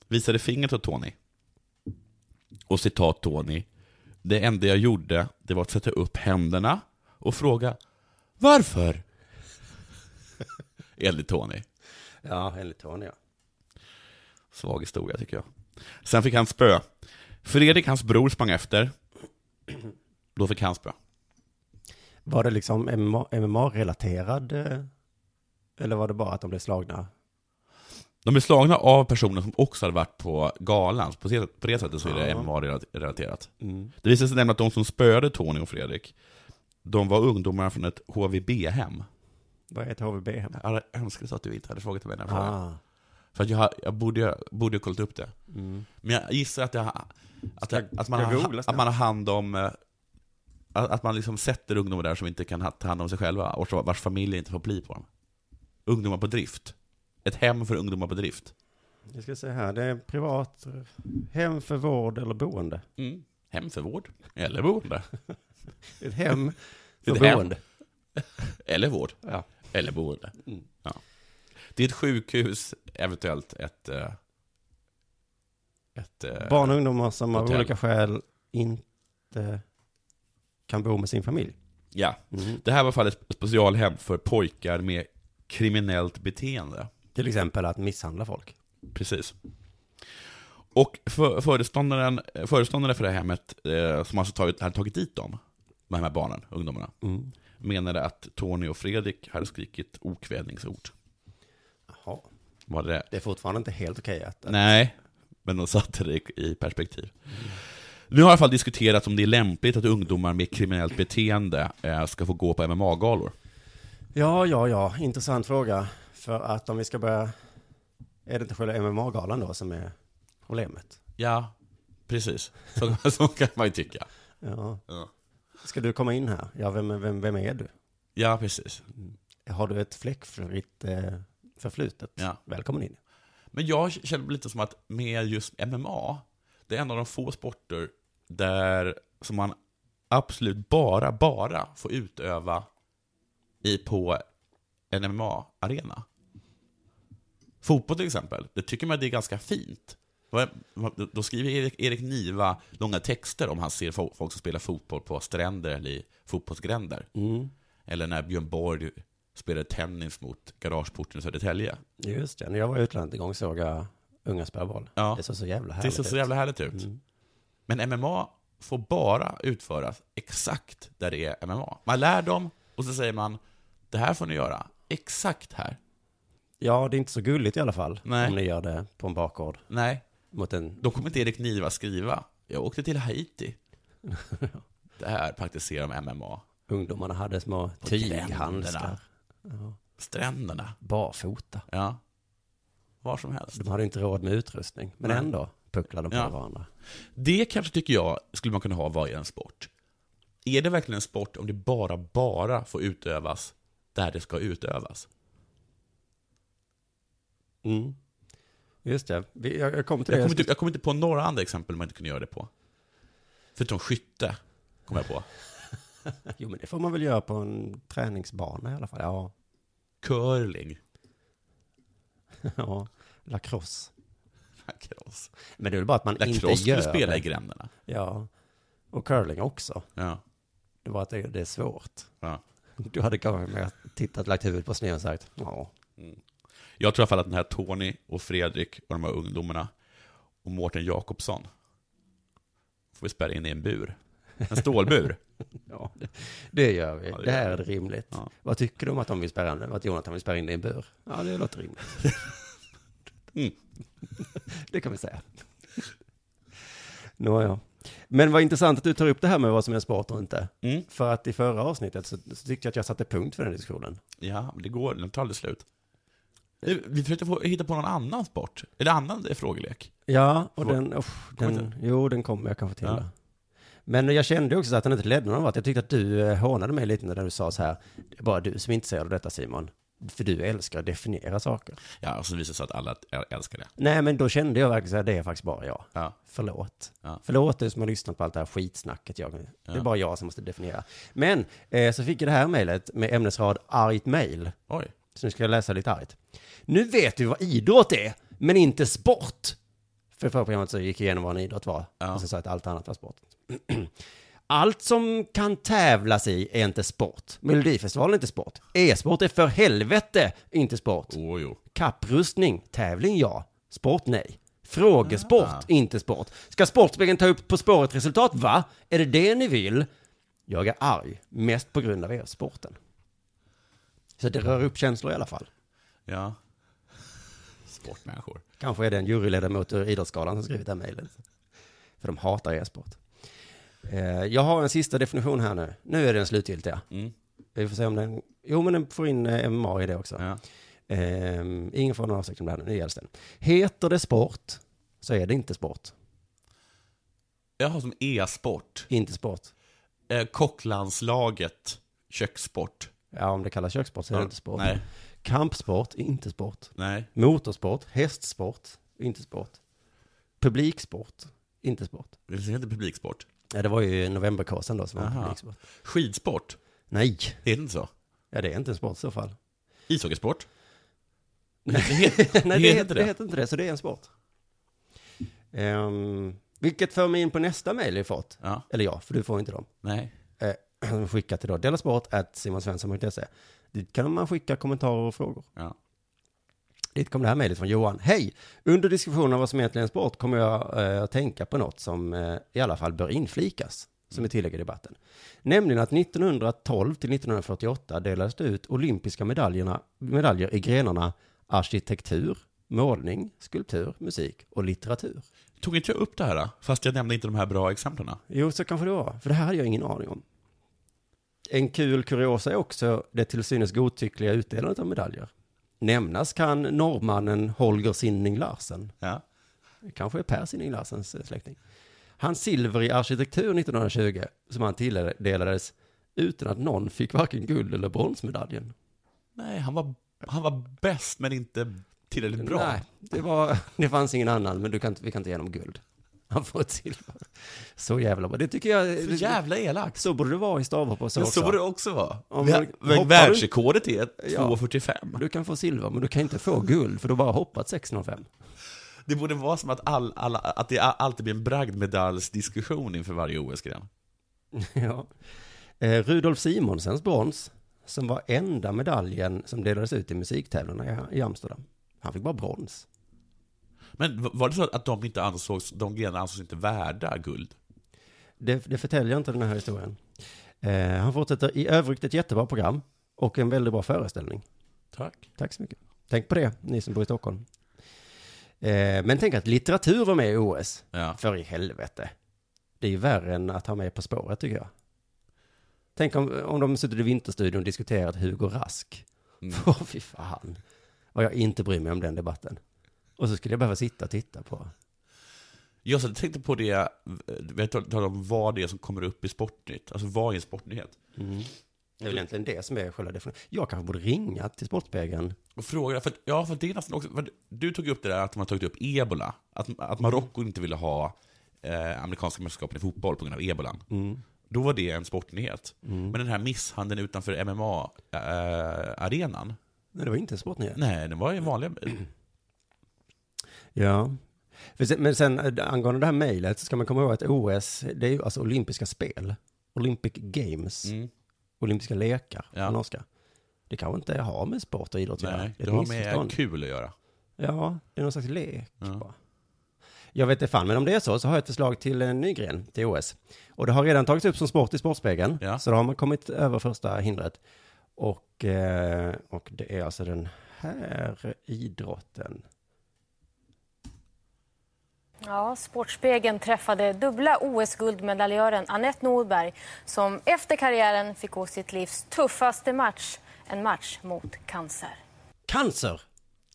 [SPEAKER 1] visade fingret åt Tony. Och citat Tony, det enda jag gjorde det var att sätta upp händerna och fråga varför? Enligt Tony.
[SPEAKER 3] Ja, enligt Tony ja.
[SPEAKER 1] Svag historia tycker jag. Sen fick han spö. Fredrik, hans bror, sprang efter. Då fick han spö.
[SPEAKER 3] Var det liksom MMA MMA-relaterad? eh, Eller var det bara att de blev slagna?
[SPEAKER 1] De blev slagna av personer som också hade varit på galan, så på det- på det sättet så är det
[SPEAKER 3] Ja. Mm.
[SPEAKER 1] MMA-relaterat. Det visade sig nämligen att de som spöade Tony och Fredrik, de var ungdomar från ett HVB-hem.
[SPEAKER 3] Vad är ett HVB-hem?
[SPEAKER 1] Jag hade önskat att du inte hade frågat mig den här frågan.
[SPEAKER 3] Ah,
[SPEAKER 1] För att jag, har- jag borde ju borde ha kollat upp det. Men jag gissar att, jag, att, jag, att, man,
[SPEAKER 3] Mm. ska jag
[SPEAKER 1] har,
[SPEAKER 3] googla
[SPEAKER 1] att man har hand om... eh, Att att man liksom sätter ungdomar där som inte kan ha- ta hand om sig själva, och så- vars familjer inte får bli på dem. Ungdomar på drift. Ett hem för ungdomar på drift.
[SPEAKER 3] jag ska se här, det är privat eh, hem för vård eller boende.
[SPEAKER 1] Mm. Hem för vård. Eller boende.
[SPEAKER 3] Ett hem för
[SPEAKER 1] Ett hem.
[SPEAKER 3] boende.
[SPEAKER 1] Eller vård.
[SPEAKER 3] Ja.
[SPEAKER 1] Eller boende. Ja. Det är ett sjukhus, eventuellt ett... eh, ett eh,
[SPEAKER 3] Barn och ungdomar som av
[SPEAKER 1] Hotell.
[SPEAKER 3] olika skäl inte kan bo med sin familj.
[SPEAKER 1] Ja.
[SPEAKER 3] Mm.
[SPEAKER 1] Det här var i alla fall ett specialhem för pojkar med kriminellt beteende.
[SPEAKER 3] Till exempel att misshandla folk.
[SPEAKER 1] Precis. Och för, föreståndaren, eh, föreståndare för det här hemmet, eh, som alltså tagit, hade tagit dit dem, de här barnen, ungdomarna,
[SPEAKER 3] Mm.
[SPEAKER 1] menade att Tony och Fredrik hade skrikit okvädningsord.
[SPEAKER 3] Jaha,
[SPEAKER 1] Var det
[SPEAKER 3] det är fortfarande inte helt okej att...
[SPEAKER 1] Nej, men de satte det i- i perspektiv. Nu har i alla fall diskuterats om det är lämpligt att ungdomar med kriminellt beteende eh, ska få gå på MMA-galor.
[SPEAKER 3] Ja, ja, ja, intressant fråga. För att om vi ska börja... Är det inte själva MMA-galan då som är problemet?
[SPEAKER 1] Ja, precis. Så, så kan man ju tycka.
[SPEAKER 3] Ja.
[SPEAKER 1] Ja.
[SPEAKER 3] Ska du komma in här? Ja, vem, vem, vem är du?
[SPEAKER 1] Ja, precis.
[SPEAKER 3] Har du ett fläckfritt eh, förflutet?
[SPEAKER 1] Ja.
[SPEAKER 3] Välkommen in.
[SPEAKER 1] Men jag känner lite som att med just MMA, det är en av de få sporter där som man absolut bara, bara får utöva i på en MMA-arena. Fotboll till exempel, det tycker man det är ganska fint. Vad- Då skriver Erik, Erik Niva långa texter om han ser fo- folk som spelar fotboll på stränder eller i fotbollsgränder. Eller när Björn Borg spelade tennis mot garageporten i Södertälje.
[SPEAKER 3] Just det, när jag var i utlandet en gång såg jag unga spela boll.
[SPEAKER 1] Ja.
[SPEAKER 3] Det såg så jävla
[SPEAKER 1] Det
[SPEAKER 3] härligt Mm.
[SPEAKER 1] ser så
[SPEAKER 3] ut.
[SPEAKER 1] jävla härligt ut. Men MMA får bara utföras exakt där det är MMA. Man lär dem och så säger man det här får ni göra exakt här.
[SPEAKER 3] Ja, det är inte så gulligt i alla fall.
[SPEAKER 1] Nej.
[SPEAKER 3] Om ni gör det på en bakgård
[SPEAKER 1] Nej,
[SPEAKER 3] mot en...
[SPEAKER 1] då kommer inte Erik Niva skriva Jag åkte till Haiti. Där praktiserar de MMA.
[SPEAKER 3] Ungdomarna hade små
[SPEAKER 1] På
[SPEAKER 3] tyghandskar.
[SPEAKER 1] gränderna. Stränderna.
[SPEAKER 3] Barfota.
[SPEAKER 1] Ja. Var som helst.
[SPEAKER 3] De hade inte råd med utrustning. Men
[SPEAKER 1] Nej.
[SPEAKER 3] ändå pucklade de på
[SPEAKER 1] Ja.
[SPEAKER 3] varandra.
[SPEAKER 1] Det kanske tycker jag skulle man kunna ha varje en sport. Är det verkligen en sport om det bara, bara får utövas där det ska utövas?
[SPEAKER 3] Mm. Just det. Vi- Jag, jag kom till
[SPEAKER 1] Jag
[SPEAKER 3] det.
[SPEAKER 1] kommer, inte, jag kommer inte på några andra exempel man inte kunde göra det på. Förutom skytte, kommer jag på.
[SPEAKER 3] Jo, men det får man väl göra på en träningsbana i alla fall. Ja.
[SPEAKER 1] Curling.
[SPEAKER 3] ja. Lacrosse.
[SPEAKER 1] Lacrosse.
[SPEAKER 3] Men det är väl bara att man inte
[SPEAKER 1] Lacrosse
[SPEAKER 3] gör
[SPEAKER 1] skulle spela
[SPEAKER 3] det.
[SPEAKER 1] i gränderna.
[SPEAKER 3] Ja. Och curling också.
[SPEAKER 1] Ja.
[SPEAKER 3] Det var att det, det är svårt.
[SPEAKER 1] Ja.
[SPEAKER 3] Du hade kanske mer tittat, lagt huvudet på sned och sagt ja.
[SPEAKER 1] Jag tror i alla fall att den här Tony och Fredrik och de här ungdomarna och Mårten Jakobsson får vi spärra in i en bur. En stålbur.
[SPEAKER 3] ja. Det gör vi.
[SPEAKER 1] Ja, det
[SPEAKER 3] det här
[SPEAKER 1] gör
[SPEAKER 3] är rimligt.
[SPEAKER 1] Ja.
[SPEAKER 3] Vad tycker du om att de vill spärra in, att Jonathan vill spärra in dig i en bur? Ja, det låter rimligt.
[SPEAKER 1] Mm.
[SPEAKER 3] det kan vi säga. Nåja. Men vad intressant att du tar upp det här med vad som är sport och inte.
[SPEAKER 1] Mm.
[SPEAKER 3] För att i förra avsnittet så, så tyckte jag att jag satte punkt för den diskussionen.
[SPEAKER 1] Ja, men det går, den tar aldrig slut. Vi vi försökte få, hitta på någon annan sport, eller annan eh, frågelek.
[SPEAKER 3] Ja, och
[SPEAKER 1] Vad-
[SPEAKER 3] den, usch,
[SPEAKER 1] Kommer
[SPEAKER 3] den,
[SPEAKER 1] inte?
[SPEAKER 3] jo den kommer jag kanske till.
[SPEAKER 1] Ja.
[SPEAKER 3] då. Men jag kände också så att den inte ledde någon vart. Jag tyckte att du eh, hånade mig lite när du sa så här, det är bara du som är intresserad av detta Simon. För du älskar att definiera saker.
[SPEAKER 1] Ja, och så visade det sig att alla äl- älskar det.
[SPEAKER 3] Nej, men då kände jag verkligen så här, det är faktiskt bara jag.
[SPEAKER 1] Ja.
[SPEAKER 3] Förlåt.
[SPEAKER 1] Ja.
[SPEAKER 3] Förlåt du som har lyssnat på allt det här skitsnacket. Jag, Det är bara jag som måste definiera. Men eh, så fick jag det här mejlet med ämnesrad argt mejl.
[SPEAKER 1] Oj.
[SPEAKER 3] Så nu ska jag läsa lite argt. Nu vet vi vad idrott är, men inte sport. För förra programmet så gick jag igenom vad en idrott var. Och sen sa jag att allt annat var sport. Allt som kan tävlas i är inte sport. Melodifestivalen är inte sport. E-sport är för helvete inte sport.
[SPEAKER 1] Oh, jo.
[SPEAKER 3] Kapprustning, tävling ja. Sport nej. Frågesport, inte sport. Ska Sportspegeln ta upp På spåret-resultat, va? Är det det ni vill? Jag är arg, mest på grund av er sporten. Så det rör upp känslor i alla fall.
[SPEAKER 1] Ja. Sportmänniskor.
[SPEAKER 3] Kanske är det en juryledamot ur Idrottsgalan som skrivit det här mejlet. För de hatar e-sport. Eh, Jag har en sista definition här nu. Nu är den slutgiltiga.
[SPEAKER 1] Mm.
[SPEAKER 3] Vi får se om den... Jo, men den får in eh, MMA i det också.
[SPEAKER 1] Ja.
[SPEAKER 3] Ehm, ingen får någon avsikt om det här nu, nu gälls den. Heter det sport så är det inte sport.
[SPEAKER 1] Jag har som e-sport,
[SPEAKER 3] Inte sport.
[SPEAKER 1] eh, kocklandslaget, kökssport.
[SPEAKER 3] Ja, om det kallas kökssport så är det inte sport.
[SPEAKER 1] Nej,
[SPEAKER 3] Kampsport, inte sport.
[SPEAKER 1] nej.
[SPEAKER 3] Motorsport, hästsport, inte sport. Publiksport, inte sport.
[SPEAKER 1] Det finns inte publiksport.
[SPEAKER 3] Ja, det var ju novemberkåsan då som var
[SPEAKER 1] Aha.
[SPEAKER 3] publiksport.
[SPEAKER 1] Skidsport,
[SPEAKER 3] Nej,
[SPEAKER 1] det är inte så.
[SPEAKER 3] ja, det är inte en sport i så fall.
[SPEAKER 1] Ishockeysport. Nej, det heter,
[SPEAKER 3] Nej,
[SPEAKER 1] det heter
[SPEAKER 3] det, heter, det heter inte det, så det är en sport. Ehm, vilket för mig in på nästa mejl vi fått.
[SPEAKER 1] Ja,
[SPEAKER 3] Eller ja, för du får inte dem.
[SPEAKER 1] nej.
[SPEAKER 3] eh, skicka till då delasport.simonsvensson.se. Dit kan man skicka kommentarer och frågor.
[SPEAKER 1] Ja.
[SPEAKER 3] Dit kom det här mejlet från Johan. Hej! Under diskussionen om vad som egentligen är sport kommer jag eh, att tänka på något som eh, i alla fall bör inflikas, som är tillägg i debatten. Nämligen att 1912 till 1948 delades det ut olympiska medaljerna, medaljer i grenarna arkitektur, målning, skulptur, musik och litteratur.
[SPEAKER 1] Tog inte jag upp det här, då? fast jag nämnde inte de här bra exemplen?
[SPEAKER 3] Jo, så kanske det var. För det här hade jag ingen aning om. En kul kuriosa är också det till synes godtyckliga utdelandet av medaljer. Nämnas kan norrmannen Holger Sinning Larsen,
[SPEAKER 1] Ja.
[SPEAKER 3] Det kanske är Per Sinning Larsens släkting. Hans silver i arkitektur 1920, som han tilldelades utan att någon fick varken guld eller bronsmedaljen.
[SPEAKER 1] Nej, han var, han var bäst, men inte tillräckligt bra.
[SPEAKER 3] Nej, det, var, det fanns ingen annan, men du kan, inte- vi kan inte ge honom guld. Han får ett silver. Så jävla bra. Det tycker jag...
[SPEAKER 1] Så jävla elakt.
[SPEAKER 3] Så borde det vara i stavhopp och så
[SPEAKER 1] Men
[SPEAKER 3] också.
[SPEAKER 1] så borde det också vara.
[SPEAKER 3] Om
[SPEAKER 1] Vä-
[SPEAKER 3] man- hoppar du-
[SPEAKER 1] Världsrekordet är
[SPEAKER 3] Ja.
[SPEAKER 1] 2,45.
[SPEAKER 3] Du kan få silver, men du kan inte få guld, för du har bara hoppat 6,05.
[SPEAKER 1] Det borde vara som att, all, alla, att det alltid blir en bragdmedaljsdiskussion inför varje OS-gren.
[SPEAKER 3] ja. eh, Rudolf Simonsens brons, som var enda medaljen som delades ut i musiktävlingarna i, i Amsterdam. Han fick bara brons.
[SPEAKER 1] Men v- var det så att de inte ansågs, de grenarna ansågs inte värda guld?
[SPEAKER 3] Det, det förtäljer inte den här historien. Eh, han fortsätter, i övrigt ett jättebra program och en väldigt bra föreställning.
[SPEAKER 1] Tack.
[SPEAKER 3] Tack så mycket. Tänk på det, ni som bor i Stockholm. Eh, men tänk att litteratur var med i OS.
[SPEAKER 1] Ja.
[SPEAKER 3] För i helvete. Det är ju värre än att ha med På spåret tycker jag. Tänk om, om de suttit i Vinterstudion och diskuterat Hugo Rask.
[SPEAKER 1] Mm.
[SPEAKER 3] Åh, fy fan. Och jag inte bryr mig om den debatten. Och så skulle jag behöva sitta och titta på.
[SPEAKER 1] Jag satt och tänkte på det, eh, vi talade om vad det är som kommer upp i Sportnytt. Alltså vad är en sportnyhet?
[SPEAKER 3] Det är väl egentligen det som är själva definitionen. Jag kanske borde ringa till Sportspegeln.
[SPEAKER 1] Och frågade, för, att- ja, för det är nästan också, för att du tog upp det där att de har tagit upp ebola. Att, att Marocko inte ville ha eh, amerikanska mästerskapen i fotboll på grund av ebolan. Då var det en sportnyhet. Men den här misshandeln utanför eh, MMA-arenan,
[SPEAKER 3] Nej, det var inte en sportnyhet.
[SPEAKER 1] nej, den var ju vanliga...
[SPEAKER 3] Ja. För sen- Men sen eh, angående det här mejlet så ska man komma ihåg att OS, det är ju alltså olympiska spel. Olympic Games.
[SPEAKER 1] Mm.
[SPEAKER 3] Olympiska lekar
[SPEAKER 1] Ja.
[SPEAKER 3] på norska. Det kanske inte har med sport och idrott att göra.
[SPEAKER 1] Nej,
[SPEAKER 3] Det är
[SPEAKER 1] det
[SPEAKER 3] ett
[SPEAKER 1] har
[SPEAKER 3] missförstånd.
[SPEAKER 1] med kul att göra.
[SPEAKER 3] Ja, det är någon slags lek bara. Jag vet inte fan, men om det är så så har jag ett förslag till en ny gren till OS. Och det har redan tagits upp som sport i Sportspegeln.
[SPEAKER 1] Ja.
[SPEAKER 3] Så då har man kommit över första hindret. Och, eh, och det är alltså den här idrotten.
[SPEAKER 8] Ja, Sportspegeln träffade dubbla OS-guldmedaljören Anette Norberg som efter karriären fick gå sitt livs tuffaste match, en match mot cancer.
[SPEAKER 3] Cancer!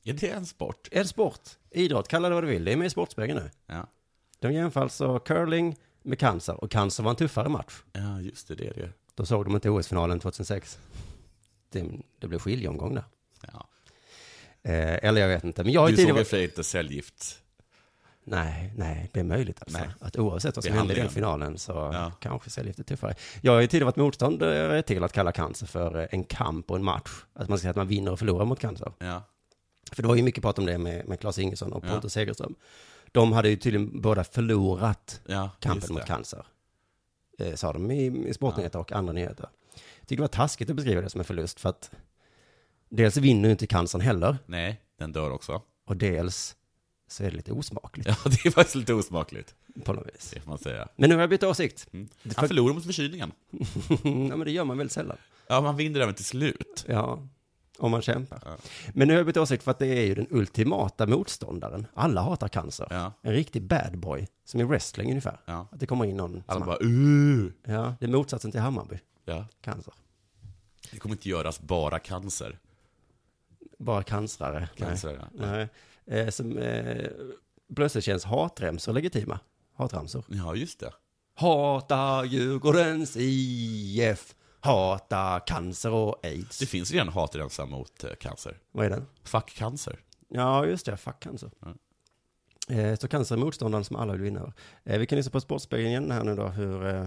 [SPEAKER 1] Är det en sport?
[SPEAKER 3] Är det sport? Idrott, kalla det vad du vill. Det är med i Sportspegeln nu.
[SPEAKER 1] Ja,
[SPEAKER 3] De jämför alltså curling med cancer. Och cancer var en tuffare match.
[SPEAKER 1] ja just det, det är det.
[SPEAKER 3] Då såg de inte OS-finalen 2006. Det, det blev skiljeomgång där.
[SPEAKER 1] Ja.
[SPEAKER 3] Eh, eller jag vet inte. Men jag har
[SPEAKER 1] Du
[SPEAKER 3] ju
[SPEAKER 1] såg
[SPEAKER 3] tidigare...
[SPEAKER 1] i och för sig inte cellgift.
[SPEAKER 3] Nej, nej, det är möjligt alltså.
[SPEAKER 1] Nej.
[SPEAKER 3] Att oavsett vad som
[SPEAKER 1] Det
[SPEAKER 3] händer i
[SPEAKER 1] handlar
[SPEAKER 3] den
[SPEAKER 1] ju
[SPEAKER 3] finalen så
[SPEAKER 1] Ja.
[SPEAKER 3] kanske ser det lite tuffare. Jag har ju tidigare varit motståndare till att kalla cancer för eh, en kamp och en match. Att man ska säga att man vinner och förlorar mot cancer.
[SPEAKER 1] Ja.
[SPEAKER 3] För det var ju mycket prat om det med, med Claes Ingesson och
[SPEAKER 1] Ja.
[SPEAKER 3] Pontus Segerström. De hade ju tydligen båda förlorat
[SPEAKER 1] Ja, just
[SPEAKER 3] kampen mot
[SPEAKER 1] det.
[SPEAKER 3] cancer. Eh, sa de i, i sportnyheter och andra nyheter. Jag tycker det var taskigt att beskriva det som en förlust för att dels vinner ju inte cancern heller
[SPEAKER 1] Nej, den dör också.
[SPEAKER 3] och dels så är det lite osmakligt
[SPEAKER 1] Ja, det är faktiskt lite osmakligt,
[SPEAKER 3] på något vis.
[SPEAKER 1] det får man säga.
[SPEAKER 3] Men nu har jag bytt åsikt.
[SPEAKER 1] Han förlorar mot förkylningen.
[SPEAKER 3] ja, men det gör man väldigt sällan.
[SPEAKER 1] Ja, man vinner även till slut.
[SPEAKER 3] Ja, om man kämpar.
[SPEAKER 1] Ja.
[SPEAKER 3] Men nu har jag bytt åsikt för att det är ju den ultimata motståndaren. Alla hatar cancer.
[SPEAKER 1] Ja.
[SPEAKER 3] En riktig bad boy, som i wrestling ungefär.
[SPEAKER 1] Ja.
[SPEAKER 3] Att det kommer in någon
[SPEAKER 1] Alla
[SPEAKER 3] som
[SPEAKER 1] bara uh.
[SPEAKER 3] Ja, det är motsatsen till Hammarby,
[SPEAKER 1] Ja,
[SPEAKER 3] cancer.
[SPEAKER 1] det kommer inte göras bara cancer.
[SPEAKER 3] Bara cancerare.
[SPEAKER 1] Cancer, ja.
[SPEAKER 3] Nej. Nej. Eh, som eh, plötsligt känns hatremsor legitima. Hatramsor.
[SPEAKER 1] Ja, just det.
[SPEAKER 3] Hata Djurgårdens IF. Hata cancer och aids.
[SPEAKER 1] Det finns redan hatrensa mot eh, cancer.
[SPEAKER 3] Vad är den?
[SPEAKER 1] Fuck cancer.
[SPEAKER 3] Ja, just det. Fuck cancer. Eh, Så cancer är motståndaren som alla vill vinna över. Eh, Vi kan lyssna på Sportspegeln igen här nu då, hur, eh,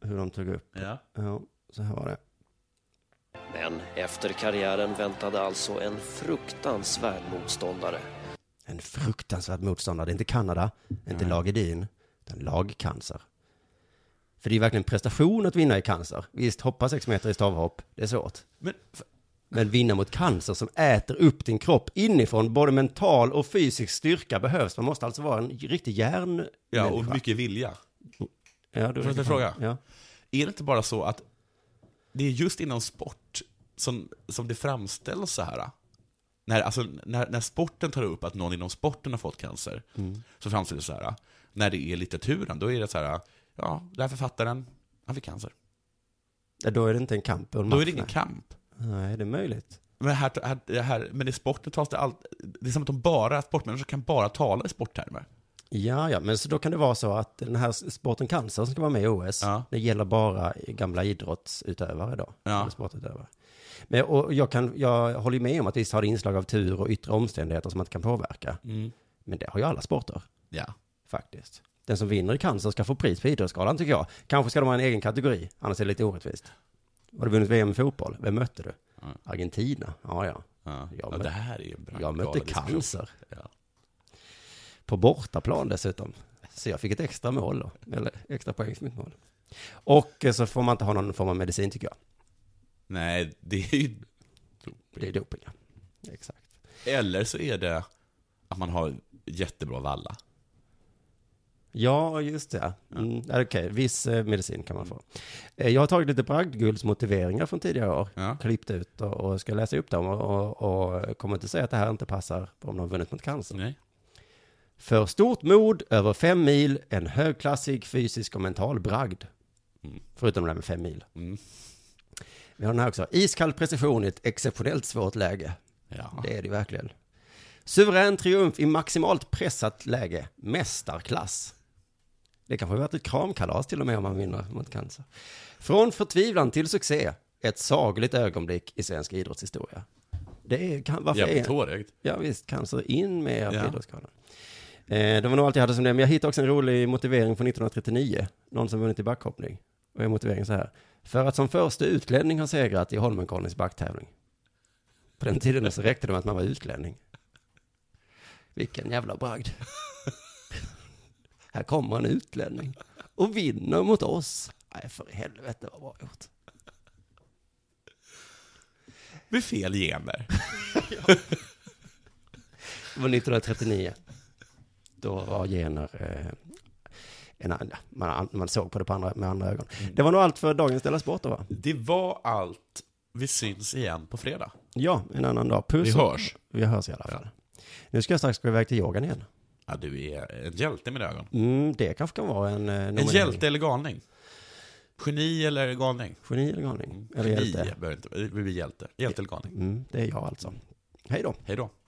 [SPEAKER 3] hur de tog upp.
[SPEAKER 1] Ja.
[SPEAKER 3] Ja, så här var det.
[SPEAKER 9] Men efter karriären väntade alltså en fruktansvärd motståndare.
[SPEAKER 3] En fruktansvärd motståndare. Det är inte Kanada, inte lag Edin, utan lagcancer. För det är verkligen prestation att vinna i cancer. Visst, hoppa sex meter i stavhopp, det är svårt.
[SPEAKER 1] Men, f-
[SPEAKER 3] Men vinna mot cancer som äter upp din kropp inifrån, både mental och fysisk styrka behövs. Man måste alltså vara en riktig hjärn...
[SPEAKER 1] ja, och mycket vilja.
[SPEAKER 3] Ja, du
[SPEAKER 1] Får jag ställa en fråga?
[SPEAKER 3] Ja.
[SPEAKER 1] Är det inte bara så att det är just inom sport som, som det framställs så här? När, alltså, när, när sporten tar upp att någon inom sporten har fått cancer, så framställs det så här. När det är litteraturen, då är det så här, ja, den här författaren, han fick cancer.
[SPEAKER 3] Ja, då är det inte en kamp och en
[SPEAKER 1] Då är
[SPEAKER 3] match,
[SPEAKER 1] det ingen kamp.
[SPEAKER 3] nej. nej, det är möjligt.
[SPEAKER 1] Men, här, här, här, men i sporten tas det allt, det är som att de bara, sportmänniskor kan bara tala i sporttermer.
[SPEAKER 3] Ja, ja, men så då kan det vara så att den här sporten cancer som ska vara med i OS,
[SPEAKER 1] Ja.
[SPEAKER 3] det gäller bara gamla idrottsutövare då.
[SPEAKER 1] Ja.
[SPEAKER 3] Eller sportutövare. Men, och jag, kan, jag håller ju med om att visst har det inslag av tur och yttre omständigheter som man inte kan påverka. Men det har ju alla sporter,
[SPEAKER 1] Ja.
[SPEAKER 3] faktiskt. Den som vinner i cancer ska få pris på Idrottsgalan, tycker jag. Kanske ska de ha en egen kategori, annars är det lite orättvist. Har du vunnit VM i fotboll? Vem mötte du? Argentina? Ja, ja.
[SPEAKER 1] Ja.
[SPEAKER 3] Jag
[SPEAKER 1] ja,
[SPEAKER 3] mö-
[SPEAKER 1] det här är ju en
[SPEAKER 3] jag mötte
[SPEAKER 1] galen diskussion.
[SPEAKER 3] cancer.
[SPEAKER 1] Ja.
[SPEAKER 3] på bortaplan dessutom. Så jag fick ett extra mål då, eller extra poäng för mitt mål. Och eh, så får man inte ha någon form av medicin tycker jag.
[SPEAKER 1] Nej, det är ju
[SPEAKER 3] Det är doping, ja. Exakt.
[SPEAKER 1] Eller så är det att man har jättebra valla.
[SPEAKER 3] Ja, just det. Mm, ja, Okej, viss eh, medicin kan man få. Eh, Jag har tagit lite bragdguldsmotiveringar från tidigare år,
[SPEAKER 1] Ja.
[SPEAKER 3] klippt ut och, och ska läsa upp dem och, och, och kommer inte säga att det här inte passar om de har vunnit mot cancer.
[SPEAKER 1] Nej.
[SPEAKER 3] För stort mod, över fem mil, en högklassig fysisk och mental bragd. Förutom det där med fem mil. Vi har den här också. Iskall precision i ett exceptionellt svårt läge.
[SPEAKER 1] Ja.
[SPEAKER 3] Det är det verkligen. Suverän triumf i maximalt pressat läge. Mästarklass. Det kanske har varit ett kramkalas till och med om man vinner mot cancer. Från förtvivlan till succé. Ett sagligt ögonblick i svensk idrottshistoria. Det är, kan, varför
[SPEAKER 1] Jävligt
[SPEAKER 3] är,
[SPEAKER 1] hårigt.
[SPEAKER 3] Ja visst, cancer in med er
[SPEAKER 1] Ja.
[SPEAKER 3] på Idrottsgalan. Eh, det var nog allt jag hade som det, men jag hittade också en rolig motivering från 1939. Någon som vunnit i backhoppning. Och är motiveringen så här. För att som första utlänning har segrat i Holmenkollens backtävling. På den tiden så räckte det med att man var utlänning. Vilken jävla bragd. Här kommer en utlänning och vinner mot oss. Nej, för i helvete vad bra gjort.
[SPEAKER 1] Med fel gener.
[SPEAKER 3] Det var 1939. Då var gener... Eh, en, annan- man, man såg på det på andra, med andra ögon.
[SPEAKER 1] Mm.
[SPEAKER 3] Det var nog allt för dagens Della Sport då, va?
[SPEAKER 1] Det var allt. Vi syns igen på fredag.
[SPEAKER 3] Ja, en annan dag. Puss.
[SPEAKER 1] Vi hörs.
[SPEAKER 3] Vi hörs i alla fall. Nu ska jag strax gå iväg till yogan igen.
[SPEAKER 1] Ja, du är en hjälte i mina ögon.
[SPEAKER 3] Mm, det kanske kan vara en... Eh,
[SPEAKER 1] En
[SPEAKER 3] nominering.
[SPEAKER 1] hjälte eller galning? Geni eller galning?
[SPEAKER 3] Geni eller galning. Eller
[SPEAKER 1] Geni
[SPEAKER 3] hjälte.
[SPEAKER 1] behöver inte Vi blir hjälte. Hjälte eller galning.
[SPEAKER 3] Mm, det är jag alltså. Hej då.
[SPEAKER 1] Hej då.